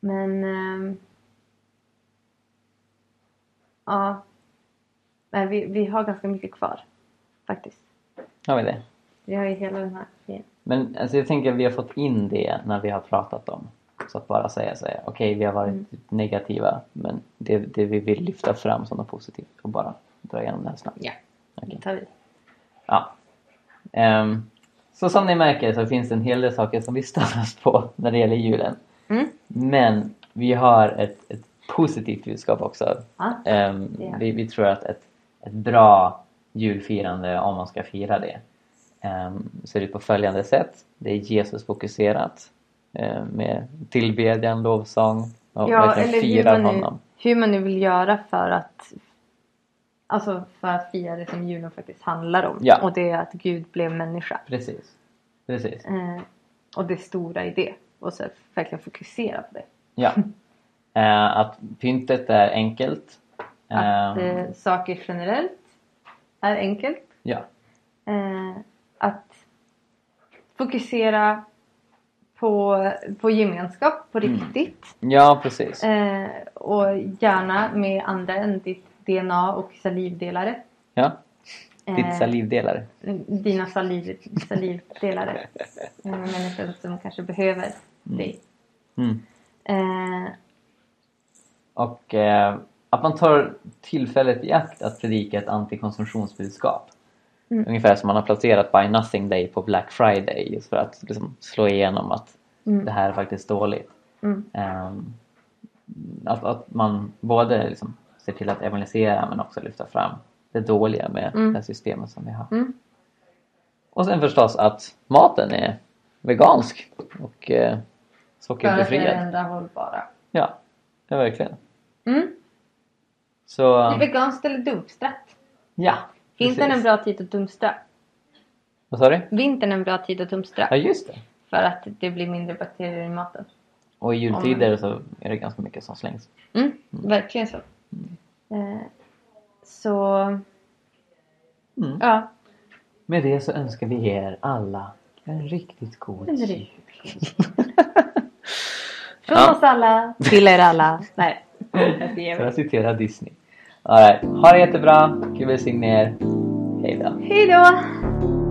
[SPEAKER 1] Men... ehm, ja. Nej, vi, vi har ganska mycket kvar faktiskt.
[SPEAKER 2] Har vi det?
[SPEAKER 1] Vi har ju hela den här grejen.
[SPEAKER 2] Men alltså, jag tänker att vi har fått in det när vi har pratat om. Så att bara säga så här, okej vi har varit
[SPEAKER 1] Mm.
[SPEAKER 2] negativa men det, det vi vill lyfta fram som något positivt och bara dra igenom det här snabbt.
[SPEAKER 1] Ja,
[SPEAKER 2] Okej.
[SPEAKER 1] det tar vi.
[SPEAKER 2] Ja. Ehm, så som ni märker så finns det en hel del saker som vi stör oss på när det gäller julen.
[SPEAKER 1] Mm.
[SPEAKER 2] Men vi har ett, ett positivt budskap också.
[SPEAKER 1] Ja.
[SPEAKER 2] Ehm,
[SPEAKER 1] Ja.
[SPEAKER 2] vi, vi tror att ett, ett bra julfirande, om man ska fira det, ehm, ser ut på följande sätt. Det är Jesusfokuserat ehm, med tillbedjan, lovsång och
[SPEAKER 1] Ja,
[SPEAKER 2] verkligen
[SPEAKER 1] eller hur
[SPEAKER 2] firar
[SPEAKER 1] man, nu,
[SPEAKER 2] honom.
[SPEAKER 1] hur man nu vill göra för att Alltså för att fira det som julen faktiskt handlar om.
[SPEAKER 2] Ja.
[SPEAKER 1] Och det är att Gud blev människa.
[SPEAKER 2] Precis. Precis.
[SPEAKER 1] Eh, och det stora i det. Och så verkligen fokusera på det.
[SPEAKER 2] Ja. Eh, att pyntet är enkelt.
[SPEAKER 1] Att
[SPEAKER 2] Ehm,
[SPEAKER 1] eh, saker generellt är enkelt.
[SPEAKER 2] ja.
[SPEAKER 1] Eh, att fokusera på, på gemenskap
[SPEAKER 2] Mm.
[SPEAKER 1] på riktigt.
[SPEAKER 2] ja, precis.
[SPEAKER 1] Eh, och gärna med andra än ditt DNA och salivdelare.
[SPEAKER 2] Ja.
[SPEAKER 1] Eh,
[SPEAKER 2] Ditt salivdelare.
[SPEAKER 1] dina saliv, salivdelare. Eh, Människor som kanske behöver dig.
[SPEAKER 2] Mm.
[SPEAKER 1] Eh,
[SPEAKER 2] Och eh, att man tar tillfället i akt att predika ett antikonsumtionsbudskap.
[SPEAKER 1] Mm.
[SPEAKER 2] Ungefär som man har placerat Buy Nothing Day på Black Friday just för att liksom, slå igenom att
[SPEAKER 1] Mm.
[SPEAKER 2] det här är faktiskt dåligt.
[SPEAKER 1] Mm.
[SPEAKER 2] Ehm, att, att man både liksom, ser till att evangelisera men också lyfta fram det dåliga med
[SPEAKER 1] Mm.
[SPEAKER 2] det här systemet som vi har.
[SPEAKER 1] Mm.
[SPEAKER 2] Och sen förstås att maten är vegansk
[SPEAKER 1] för att
[SPEAKER 2] och eh,
[SPEAKER 1] det är det
[SPEAKER 2] sockerbefriad.
[SPEAKER 1] enda hållbara.
[SPEAKER 2] Ja, ja verkligen.
[SPEAKER 1] Mm.
[SPEAKER 2] Så,
[SPEAKER 1] Är veganskt eller dumpstrat?
[SPEAKER 2] ja.
[SPEAKER 1] Vintern är en
[SPEAKER 2] precis.
[SPEAKER 1] bra tid att dumpstra.
[SPEAKER 2] Vad sa du?
[SPEAKER 1] Vintern är en bra tid att dumpstra.
[SPEAKER 2] Ja, just det.
[SPEAKER 1] För att det blir mindre bakterier i maten.
[SPEAKER 2] Och i jultider så är det ganska mycket som slängs.
[SPEAKER 1] Mm, verkligen så. Eh, så,
[SPEAKER 2] Mm.
[SPEAKER 1] ja.
[SPEAKER 2] Med det så önskar vi er alla en riktigt god
[SPEAKER 1] En
[SPEAKER 2] jul.
[SPEAKER 1] riktigt Från
[SPEAKER 2] Ja.
[SPEAKER 1] oss alla till er alla. Nej, jag
[SPEAKER 2] För
[SPEAKER 1] skojar.
[SPEAKER 2] att citera Disney. All right. Ha det jättebra. Gud välsigne er. Hej då.
[SPEAKER 1] Hej då!